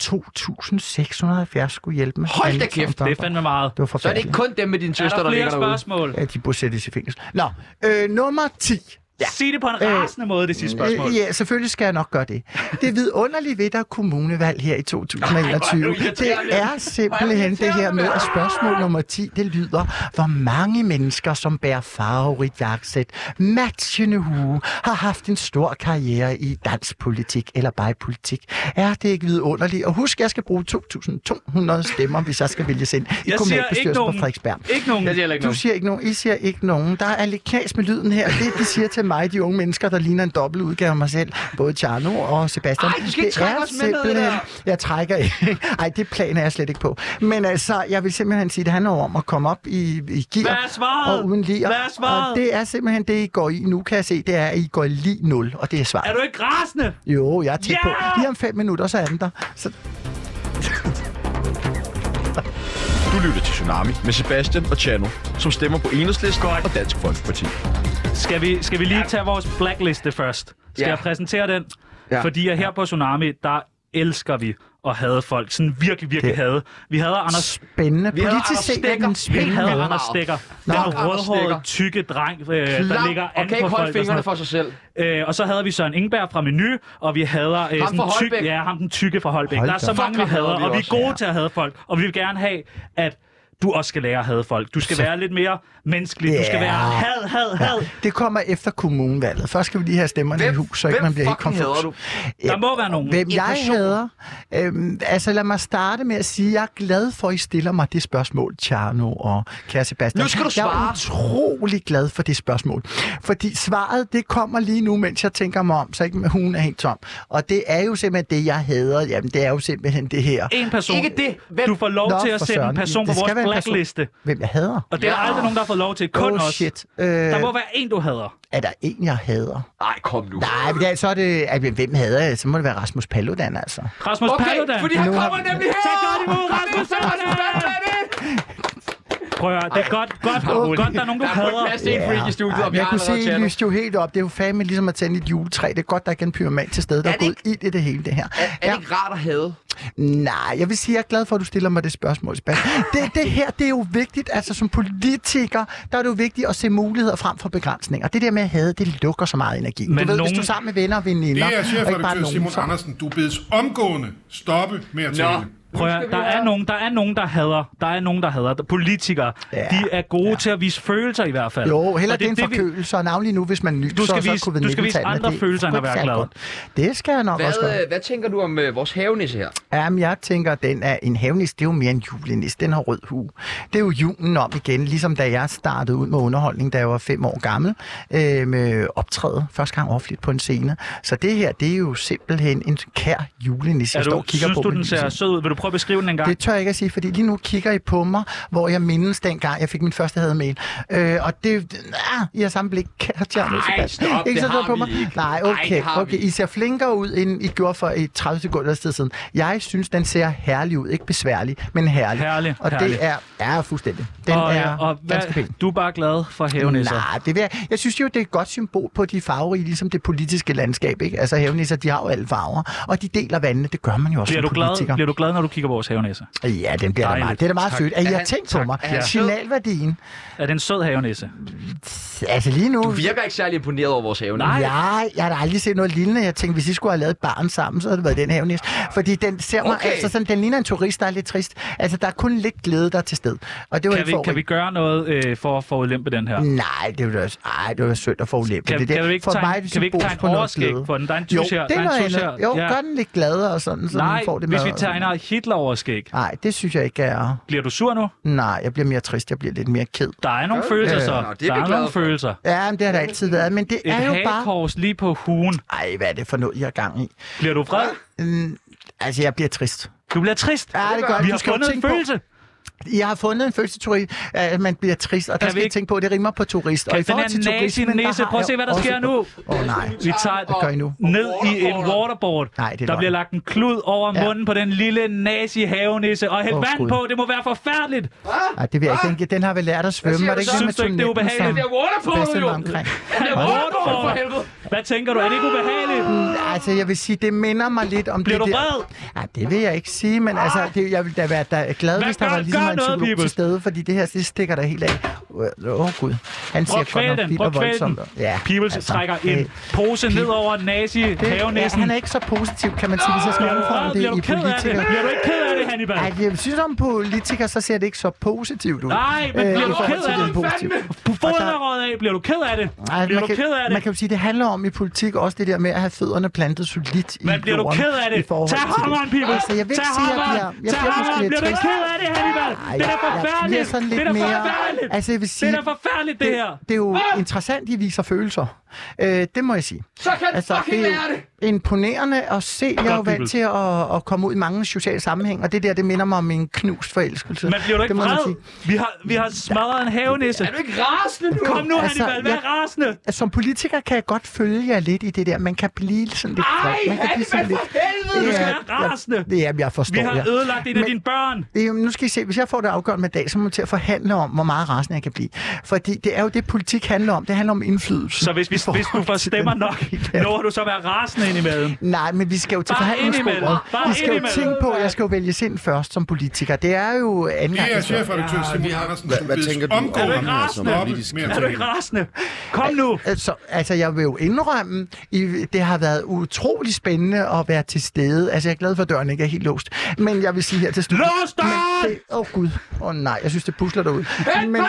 2.670 skulle hjælpe med.
Hold da
anmeldelser om
kæft,
Det
børn.
er fandme meget.
Det var
Så er det ikke kun dem med din søster,
Er der
der, ligger
flere
derude.
spørgsmål?
Ja, de burde sættes i fængsel. Nå, øh, nummer 10.
Ja. Sig det på en rasende måde, det sidste spørgsmål.
Øh, ja, selvfølgelig skal jeg nok gøre det. Det vidunderlige ved der er kommunevalg her i 2021, det er simpelthen det her med, at spørgsmål nummer 10, det lyder, hvor mange mennesker, som bærer farverigt jakkesæt, matchende hue, har haft en stor karriere i dansk politik eller bare i politik. Er det ikke vidunderligt? Og husk, jeg skal bruge 2.200 stemmer, hvis jeg skal vælges ind i
Jeg siger ikke
kommunalbestyrelsen på
nogen.
Frederiksberg.
Ikke nogen. Jeg siger
Du siger ikke nogen. I siger ikke nogen. Der er lidt knas med lyden her. Det, de siger til mig, de unge mennesker, der ligner en dobbelt udgave af mig selv. Både Tjerno og Sebastian.
Ej, du skal ikke
det
trække
er
os med ned i det
simpelthen-
der.
Jeg trækker ikke. Ej, det plan er jeg slet ikke på. Men altså, jeg vil simpelthen sige, det handler om at komme op i, i gear.
Hvad er svaret?
Og uden lir.
Hvad er svaret?
Og det er simpelthen det, I går i nu, kan jeg se. Det er, at I går i lige 0, og det er svaret.
Er du ikke rasende?
Jo, jeg er tæt
Ja!
på. Lige om fem minutter, så er den der. Så
Du lytter til Tsunami med Sebastian og Chano, som stemmer på Enhedslisten og Dansk Folkeparti.
Skal vi, skal vi lige tage vores blackliste først? Skal
Ja.
jeg præsentere den?
Ja.
Fordi at her på Tsunami, der elsker vi at have folk. Sådan virkelig, virkelig havde. Vi havde Anders...
Spændende.
Vi havde
Politisk
Anders
set er
Stegger.
den
Vi
spændende.
havde Anders Stegger.
Nå.
Den
Klam Anders
rødhårede,
Stegger.
tykke dreng, øh, der
Klam,
ligger
og
an
kan ikke
på
holde
folk. og sådan
fingrene
noget.
for sig selv.
Øh, og så havde vi Søren Ingberg fra Menu, og vi havde øh, sådan
fra
tyk,
Holbæk.
ja, ham den tykke fra Holbæk.
Hold
der er
da
så
op.
mange, vi
Fuck, ham
hader,
hader vi
og vi er
også.
gode til at have folk. Og vi vil gerne have, at du også skal lære at have folk. Du skal
Så-
være lidt mere menneskelig. Du skal
Ja.
være had, had, had.
Det kommer efter kommunevalget. Først skal vi lige have stemmerne i hus, så ikke man bliver helt
fucking
konfus.
hader du? Der må være nogen.
Hvem
En
jeg
person.
hader? Øhm, altså lad mig starte med at sige, at jeg er glad for, at I stiller mig det spørgsmål, Tjerno og kære Sebastian.
Nu skal du
Jeg er
svare.
utrolig glad for det spørgsmål. Fordi svaret, det kommer lige nu, mens jeg tænker mig om, så ikke hun er helt tom. Og det er jo simpelthen det, jeg hader. Jamen, det er jo simpelthen det her.
En person. Ikke det. Hvem? Du får lov
Nå,
til at
for
sætte en
søren.
person på
Det skal
vores
være en person.
blackliste.
Hvem jeg hader?
Og det er der aldrig nogen, der har fået lov til. Kun
Oh,
os.
shit. Øh,
Der må være en, du hader.
Er der en, jeg hader?
Nej, kom nu.
Nej, men det, er- så er det... At, hvem hader jeg? Så må det være Rasmus Paludan, altså.
Rasmus
Okay,
Paludan.
fordi han
Nu har
kommer
vi-
nemlig her!
Så godt imod Rasmus Prøv at høre, det er godt, godt, godt, godt, der er nogen, du
Der er kun
hader.
plads til en freak i studiet,
Ej,
om
men
jeg
jeg kunne
allerede
se, I
chatter.
lyste jo helt op. Det er jo fandme ligesom at tænde et juletræ. Det er godt, der ikke er en pyroman til stede, der er,
Er det
gået ild i det hele, det her.
Er det ikke rart at have?
Nej, jeg vil sige, at jeg er glad for, at du stiller mig det spørgsmål, Sebastian. det, det her, det er jo vigtigt. Altså, som politiker, der er det jo vigtigt at se muligheder frem for begrænsninger. Det der med at have, det lukker så meget energi. Men du
Men
ved, nogen...
nogen-
hvis du er sammen med venner og
Det
veninder,
er
og ikke bare
chefredaktør
nogen,
Simon
så-
Andersen. Du bedes omgående stoppe med at tale.
Prøv at, høre, der er nogen, der er nogen, der hader. Der er nogen, der hader. Politikere, ja. de er gode ja. til at vise følelser i hvert fald.
Jo, heller
Og
det er en
vi-
forkølelse, og navnlig nu, hvis man er ny,
Du skal
så,
vise-
så covid
du skal vise andre følelser, end at være glad.
Det skal jeg nok også gøre.
Hvad, øh, hvad tænker du om øh, vores havenisse her?
Jamen, jeg tænker, den er en havnis. Det er jo mere en julenis. Den har rød hue. Det er jo julen om igen, ligesom da jeg startede ud med underholdning, da jeg var fem år gammel, øh, med optræde første gang offentligt på en scene. Så det her, det er jo simpelthen en kær julenis,
Er
jeg står
du,
og kigger
synes
på.
du,
med
den ser
lyset.
sød ud? Vil du prøve at beskrive den en gang?
Det tør jeg ikke at sige, fordi lige nu kigger I på mig, hvor jeg mindes dengang, jeg fik min første hademail. Øh, og det... Ah, I har samme blik, kære Tjerno
Ej,
Sebastian.
stop, det
så tæt
har vi ikke.
Nej,
Ej,
okay,
det har
okay.
vi
I ser flinkere ud, end I gjorde for et 30 sekunder sted siden. Jeg synes, den ser herlig ud. Ikke besværlig, men herlig.
Herlig,
og
herlig.
det er, er fuldstændig. Den
og,
er
øh, og
ganske
hvad,
pæn.
du er bare glad for havenisser.
Nej, det vil jeg. jeg synes jo, det er et godt symbol på de farverige, ligesom det politiske landskab. Ikke? Altså hævnisser, de har jo alle farver, og de deler vandene. Det gør man jo også
Bliver du,
som
glad,
politiker.
bliver du glad, når du kigger på vores havenisse?
Ja, den bliver da meget. Det er da meget sødt. At I har tænkt på mig.
Ja.
Signalværdien.
Er det en sød havenisse?
Altså lige nu...
Du virker ikke særlig imponeret over vores havenisse.
Nej. Jeg, jeg har da aldrig set noget lignende. Jeg tænkte, hvis I skulle have lavet et barn sammen, så havde det været den havnis. Fordi den ser okay. mig,
Okay.
altså sådan, den ligner en turist, der er lidt trist. Altså, der er kun lidt glæde, der er til sted. Og det var
Kan vi, kan vi gøre noget øh, for at forulempe den her?
Nej, det var da ej, det var da sødt at få ulæmpet.
Kan-
det der.
kan vi ikke
For
tegne-
mig er det
kan vi ikke
symbolsk
tegne
på noget
overskæg
glæde.
for den? Der er en
Jo,
tus her,
det
der er en
noget
tus
andet.
her.
Jo,
Ja.
gør den lidt gladere og sådan, så
Nej,
man får det
hvis
med.
vi tegner Hitler over skæg.
Nej, det synes jeg ikke er...
Bliver du sur nu?
Nej, jeg bliver mere trist. Jeg bliver lidt mere ked.
Der er nogle følelser så. Der er nogle følelser.
Ja, men det har der altid været, men det
Et
er jo bare...
hagekors lige på huen.
Ej, hvad er det for noget, jeg har gang i?
Bliver du vred?
Mm, altså, jeg bliver trist.
Du bliver trist?
Ja, det gør jeg.
Vi
Du
har
skal jo
fundet en
tænke på-
følelse.
Jeg har fundet en følelseteori, at man bliver trist, og
Kan
der
vi
skal jeg
ikke-
tænke på, at det rimer på turist.
Kan
og i
den
forhold
her
til
næse i
turismen,
næse-
der
prøv at
har
se, hvad der
jeg
sker
også-
nu.
Åh oh, nej.
Vi tager
Hvad gør I nu?
ned i en waterboard.
Nej, det er
der
løgn.
bliver lagt en klud over
Ja.
munden på den lille nazi-havenisse, og hæld
Åh,
vand
Gud.
på. Det må være forfærdeligt.
Nej, det vil jeg ikke. Den, den har vel lært at svømme.
siger
Var
du
det ikke
så?
det med
Synes du ikke, det er
tunnelen, som
ubehageligt? Det er waterboard,
Sebastian
jo.
var omkring?
Det er waterboard, for helvede. Hvad tænker du? Er det ikke ubehageligt?
Mm, Altså, jeg vil sige, det minder mig lidt om
Bliver
det
du
der... vred? Nej, det vil jeg ikke sige, men altså, det, jeg ville da være da, glad,
Hvad
hvis der
gør-
var ligesom
gør
en
noget,
psykolog til
Pibels?
stede, fordi det her, det stikker der helt af. Åh, oh, Gud. Han
Prøv
siger
at kvæle
godt nok
den.
vildt
Prøv
og
at kvæle
voldsomt.
den.
Ja, altså,
Peoples trækker en pose ned over
ja,
nazi-havenissen.
han er ikke så positiv, kan man sige, hvis jeg skal
Bliver du vred?
omfavne det
Bliver du
i
ked af det?
politikere.
Bliver du ikke ked af det, Hannibal?
Ej, jeg synes om politikere, så ser det ikke så positivt ud.
Nej, men
Øh,
bliver
i
du
forhold
ked
til
af
den
det?
positive.
På foden er røget af. Bliver du ked af det?
Ej,
Bliver
man,
du
kan,
ked af
man
det?
kan jo sige, det handler om i politik også det der med at have fødderne plantet solidt i
Men bliver du
jorden
ked af
i
det?
forhold
Tag
til det.
hammeren, people!
Altså, jeg vil
Tag
ikke sige, at jeg bliver,
hammeren!
jeg
Tag
bliver måske
hammeren!
lidt
Bliver du ikke
trist.
ked af det, Hannibal?
Ej,
Det er da
jeg- Jeg bliver
forfærdeligt!
sådan
Det
lidt
er da
mere...
forfærdeligt!
Altså, jeg vil sige,
Det er da forfærdeligt, det her!
det er jo interessant, de viser følelser. Øh, det må jeg sige.
Så kan
altså,
fucking
det er
lære
det! imponerende at se. Jeg er jo
Godt, Bibel.
vant til at, at komme ud i mange sociale sammenhæng, og det der, det minder mig om en knust forelskelse.
Men bliver du ikke
det må man
vred?
sige.
Vi har, vi har smadret en havenisse. Er du
ikke rasende nu?
Kom nu,
Altså,
Hannibal, vær
jeg-
rasende!
Altså, som politiker kan jeg godt følge jer lidt i det der. Man kan blive sådan lidt...
Ej,
man kan
Hannibal, for helvede! Du skal være rasende.
Jeg, jamen, jeg forstår
Vi har
jer.
ødelagt en af
Men-
dine børn!
Det er jo, nu skal I se, hvis jeg får det afgørende med dag, så må jeg til at forhandle om, hvor meget rasende jeg kan blive. Fordi det er jo det, politik handler om. Det handler om indflydelse.
Så hvis, vi, hvis du får stemmer nok, når du så være rasende indimellem.
Nej, men vi skal jo til
Bare
forhandlingsbordet.
indimellem. Bare
Vi skal jo
indimellem.
tænke på, at jeg skal jo vælge sind først som politiker. Det er jo anden
Det er
gang, jeg
chefredaktør Simon Andersen,
Hvad-
du
hvad
bedes
tænker du
omgående
om det som
stoppe
politisk
med at
kritik? Er du ikke
tale.
rasende? Kom nu!
Altså, altså, jeg vil jo indrømme, I- det har været utrolig spændende at være til stede. Altså, jeg er glad for, at døren ikke er helt låst. Men jeg vil sige her til slut... Lås døren! Åh, oh, Gud. Åh, oh, nej. Jeg synes, det pusler derude. Men,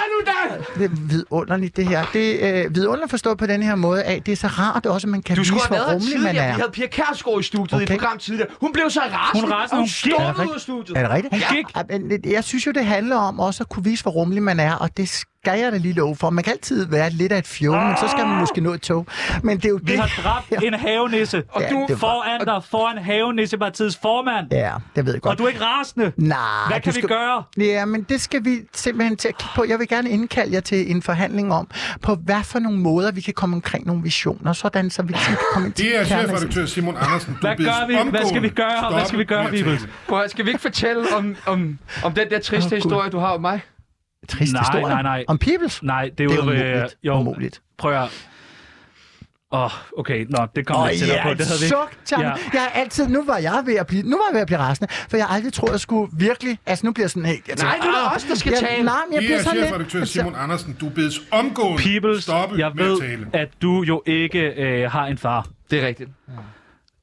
det er vidunderligt, det her. Det er øh, vidunderligt forstået på den her måde af, det er så rart også, at man kan
Du skulle
vise,
have
hvor
været her
rummelig man
tidligere. Vi
er.
havde Pia Kærsgaard i studiet okay. i et program tidligere. Hun blev så rasende.
Hun rasende,
og
hun
hun
gik.
stormede
Er det
ud af
rigtigt?
studiet.
Er det rigtigt?
Ja.
Ja, men det- jeg synes jo, det handler om også at kunne vise, hvor rummelig man er, og det skal jeg da lige love for. Man kan altid være lidt af et fjol,
Ah!
men så skal man måske nå et tog. Men det er jo
Vi
det...
har dræbt en havenisse. Og
Ja,
du
det var-
foran dig, foran havenissepartiets formand.
Ja, det ved jeg godt.
Og du er ikke rasende.
Nej.
Hvad
du
kan vi gøre?
Ja, men det skal vi simpelthen til at kigge på. Jeg vil gerne indkalde jer til en forhandling om, på hvad for nogle måder, vi kan komme omkring nogle visioner, sådan så vi ligesom kan komme til
Det er
kernen af
chefredaktør Simon Andersen, du
Hvad
bedes
gør vi? Hvad
omgående
skal vi gøre? Hvad
stoppe
skal vi gøre,
med at
Vibels?
tale.
Prøv, at høre, skal vi ikke fortælle om, om, om den der triste
Åh,
oh,
Gud.
historie, du har om mig?
Trist
nej,
historie.
nej, nej.
Om Peoples?
Nej, det er jo...
Det er
øh,
umuligt.
jo,
umuligt.
Prøv at... Åh, oh, okay. Nå, det
Åh,
kommer oh, jeg tættere
ja,
på. Det havde vi ikke.
suk, Tjamme.
Ja.
Jeg har altid, nu var jeg ved at blive, nu var jeg ved at blive rasende, for jeg har aldrig troet, jeg skulle virkelig, altså nu bliver jeg sådan helt... Jeg
Nej,
tænker,
nu er det
ah,
os, der skal
jeg,
tale.
Nej, men jeg
Det
bliver
er
sådan lidt... altså,
chefredaktør Simon Andersen, du bedes omgående
Peoples,
stoppe
jeg
med at
ved,
tale.
at du jo ikke øh, har en far.
Det er rigtigt.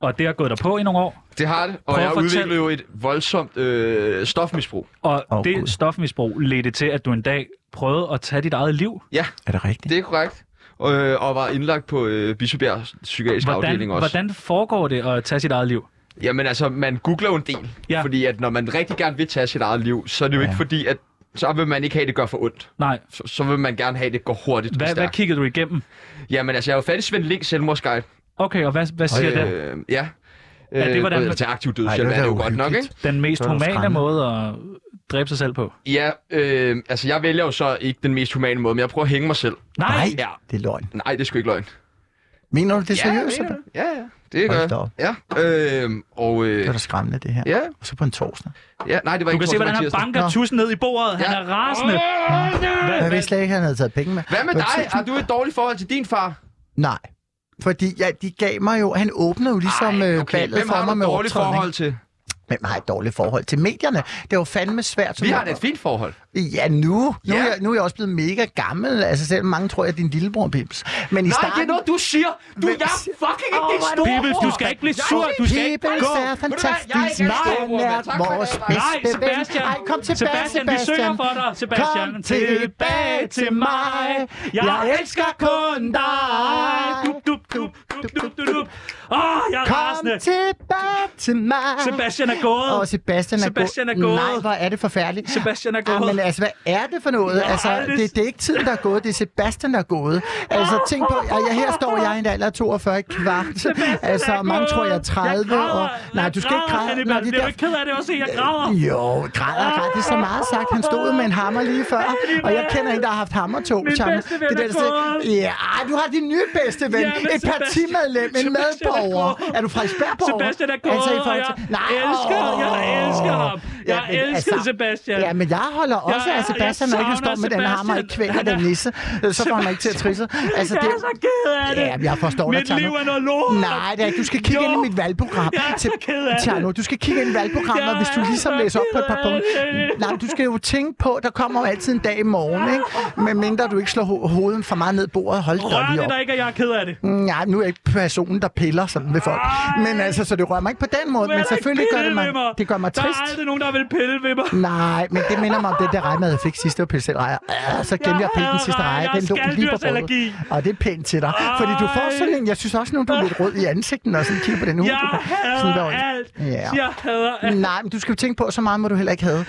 Og det har gået dig på i nogle år.
Det har det, og
Prøv at
jeg
fortæl-
udviklede jo et voldsomt øh, stofmisbrug.
Og oh, det stofmisbrug ledte til, at du en dag prøvede at tage dit eget liv.
Ja,
Er det rigtigt?
det er korrekt. Øh, og var indlagt på øh, Bispebjerg psykiatrisk
Hvordan,
afdeling også.
hvordan foregår det at tage sit eget liv?
Jamen altså, man googler jo en del. Ja. Fordi at når man rigtig gerne vil tage sit eget liv, så er det jo ja. ikke fordi, at så vil man ikke have, at det gør for ondt.
Nej.
Så, så vil man gerne have, at det går hurtigt
Hvad,
og
hvad
stærkt.
kiggede du igennem?
Jamen altså, jeg er jo fat i Svend Links selvmordsguide.
Okay, og hvad, hvad siger øh, den?
Øh, ja.
Ja, det er, hvordan
Øh,
man-
til aktiv
Ej,
dødshjælp
det
er
er
det
da
jo godt nok, ikke?
Den mest
Så er der
humane
skræmmende.
måde at dræbe sig selv på.
Ja, øh, altså jeg vælger jo så ikke den mest humane måde, men jeg prøver at hænge mig selv.
Nej,
Ja.
det er løgn.
Nej, det er sgu ikke løgn.
Mener du det er
Ja, jeg
seriøst?
mener det. Ja, ja. Det gør
Hold da
jeg.
op.
Ja. Øh, og, øh,
Det er da skræmmende, det her.
Ja.
Og så på en torsdag.
ja, nej, det var
Du
ikke
kan se,
Torsten
hvordan han
Mathiasen.
banker tusen ned i bordet. Han er rasende.
Jeg vidste slet ikke, at han havde taget penge med.
Hvad med
Men
dig?
tusind-
Har du et dårligt forhold til din far?
Nej. Fordi ja, de gav mig jo, han åbnede jo ligesom Ej, okay. ballet
Hvem
for
har
mig
du
med
dårligt
optræden,
forhold
ikke?
til?
Hvem har et dårligt forhold til medierne? Det var fandme svært. som
Vi har
ung.
da et fint forhold.
Ja, nu. Nu, er jeg, nu er jeg også blevet mega gammel. Altså, selvom mange tror, jeg er din lillebror, Pips. Men i
Nej,
starten...
det er noget, du siger. Du, jeg er fucking ikke din store
Pibels, du skal ikke blive sur. Du skal ikke
Pibels
gå.
er
Ved du hvad?
fantastisk.
Jeg er ikke
Nej,
storebror,
han er
men tak for i dag,
vores
drenge. Nej,
bedste ven.
Sebastian.
Ej, kom tilbage,
Sebastian, vi
Sebastian.
synger for dig, Sebastian.
Kom tilbage til mig.
Jeg
Jeg
elsker kun dig. Dup, dup, dup, dup, dup, dup, dup. Åh, jeg er
Kom
rasende.
tilbage til mig.
Sebastian er gået.
Og Sebastian er,
Sebastian er
gået.
gået.
Nej, hvor er det forfærdeligt.
Sebastian er gået.
Ah, men altså, hvad er det for noget?
Jeg har
altså,
aldrig-
det, det er ikke tiden, der er gået. Det er Sebastian, der er gået. Altså, tænk på, og jeg, her står jeg i en alder af 42 kvart. altså,
er
mange
gået.
tror, jeg er 30.
Jeg græder.
og, nej, du skal
græder,
ikke græde.
Hannibal.
Nå,
Bliver du ikke ked af det også, at jeg græder?
Jo, græder, græder. Det er så meget sagt. Han stod med en hammer lige før, og jeg kender en, der har haft hammertog.
Min
Charme.
bedste ven
Det
er
der, der
gået.
siger, ja, du har din nye bedste ven.
Ja, men
et
Sebastian-
partimedlem, en
Sebastian er
medborger.
gået.
Er du fra Isbergborg?
Sebastian er gået,
Altså, i forhold
og
til-
jeg
Nej,
elsker-
åh.
jeg elsker ham. Jeg
men altså-
elskede Sebastian.
Ja, men jeg holder også
Jeg-
af Sebastian,
jeg
når ikke han
savner
står med den hammer og
Sebastian.
kvæler
Han er-
den nisse. Så får han ikke til at trisse. Altså,
Jeg
det
er så ked af det.
Ja, men jeg forstår dig,
Mit
Tjerno.
liv er noget lort.
Nej, det er, ikke. du skal kigge
Jo.
ind i mit valgprogram.
Jeg er så ked af det.
Tjerno, du skal kigge ind i valgprogrammet,
Jeg
hvis du
er
ligesom
så
læser op på et par
ked af
punkter.
det.
Nej, men du skal jo tænke på, der kommer jo altid en dag i morgen, ikke? Men mindre du ikke slår ho- hovedet for meget ned i bordet, hold da
Rør
lige
det
op.
der ikke, at jeg er ked af det.
Mm, Ja, nu er jeg ikke personen, der piller sådan ved folk. Men altså, så det rører mig ikke på den måde, men selvfølgelig gør det mig, det gør mig
Der
trist.
er aldrig nogen, der vil pille ved mig.
Nej, men det minder mig om det der rejmad, jeg fik sidste år, pille selv rejer. Øh, så glemte jeg at pille den
hader
sidste
rejer.
rejer.
Jeg
Den lå
har
lige på
skaldyrsallergi.
bordet. Og det er pænt til dig. Fordi du får sådan en, jeg synes også nu, du er lidt rød i ansigten, og sådan kigger på den hund.
Jeg
du har.
hader
Sådan der.
alt.
Ja.
Jeg hader alt.
Nej, men du skal jo tænke på, så meget må du heller ikke have. Øh,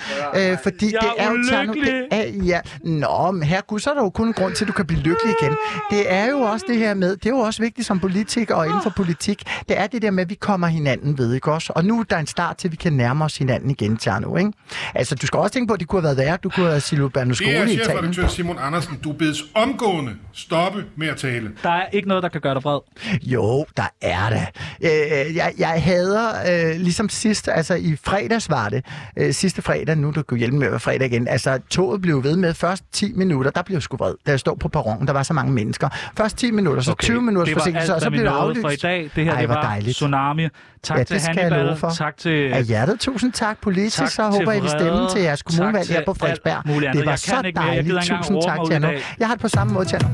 fordi
Jeg
det
er
er jo Tjerno, det
ulykkelig.
er, ja. Nå, men herregud, så er der jo kun en grund til, at du kan blive lykkelig igen. Det er jo også det her med, det er jo også vigtigt som politiker og inden for politik, det er det der med, at vi kommer hinanden ved, ikke også? Og nu er der en start til, at vi kan nærme os hinanden igen, Tjerno, ikke? Altså, du skal også tænke på, at det kunne have været værre. Du kunne have Silo Berlusconi
Det er
i Italien.
chefredaktør Simon Andersen, du bedes omgående stoppe med at tale.
Der er ikke noget, der kan gøre dig vred.
Jo, der er det. Øh, jeg, jeg hader, øh, ligesom sidst, altså i fredags var det, øh, sidste fredag, nu du kan hjælpe med at være fredag igen, altså toget blev ved med først 10 minutter, der blev jeg sgu vred, da jeg stod på perronen, der var så mange mennesker. Først 10 minutter, så okay, 20 minutters
det var alt,
forsinkelse, og så
hvad vi
blev det
nåede
aflyst.
for i dag. Det her
Ej,
det
hvor
var
dejligt.
Tsunami. Tak
ja,
til
det skal jeg love
Hannibal.
for.
Tak
Af
til
hjertet, tusind tak, politisk. det, så håber jeg, at I vil stemme til jeres kommunevalg her på Frederiksberg. Det var så dejligt. Tusind tak, Tjerno. Jeg har det på samme måde, Tjerno.
I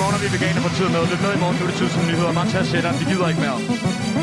morgen er vi veganer på tid med. Lyt med i morgen, nu er det tid til nyheder. Bare tag sætteren, vi gider ikke mere.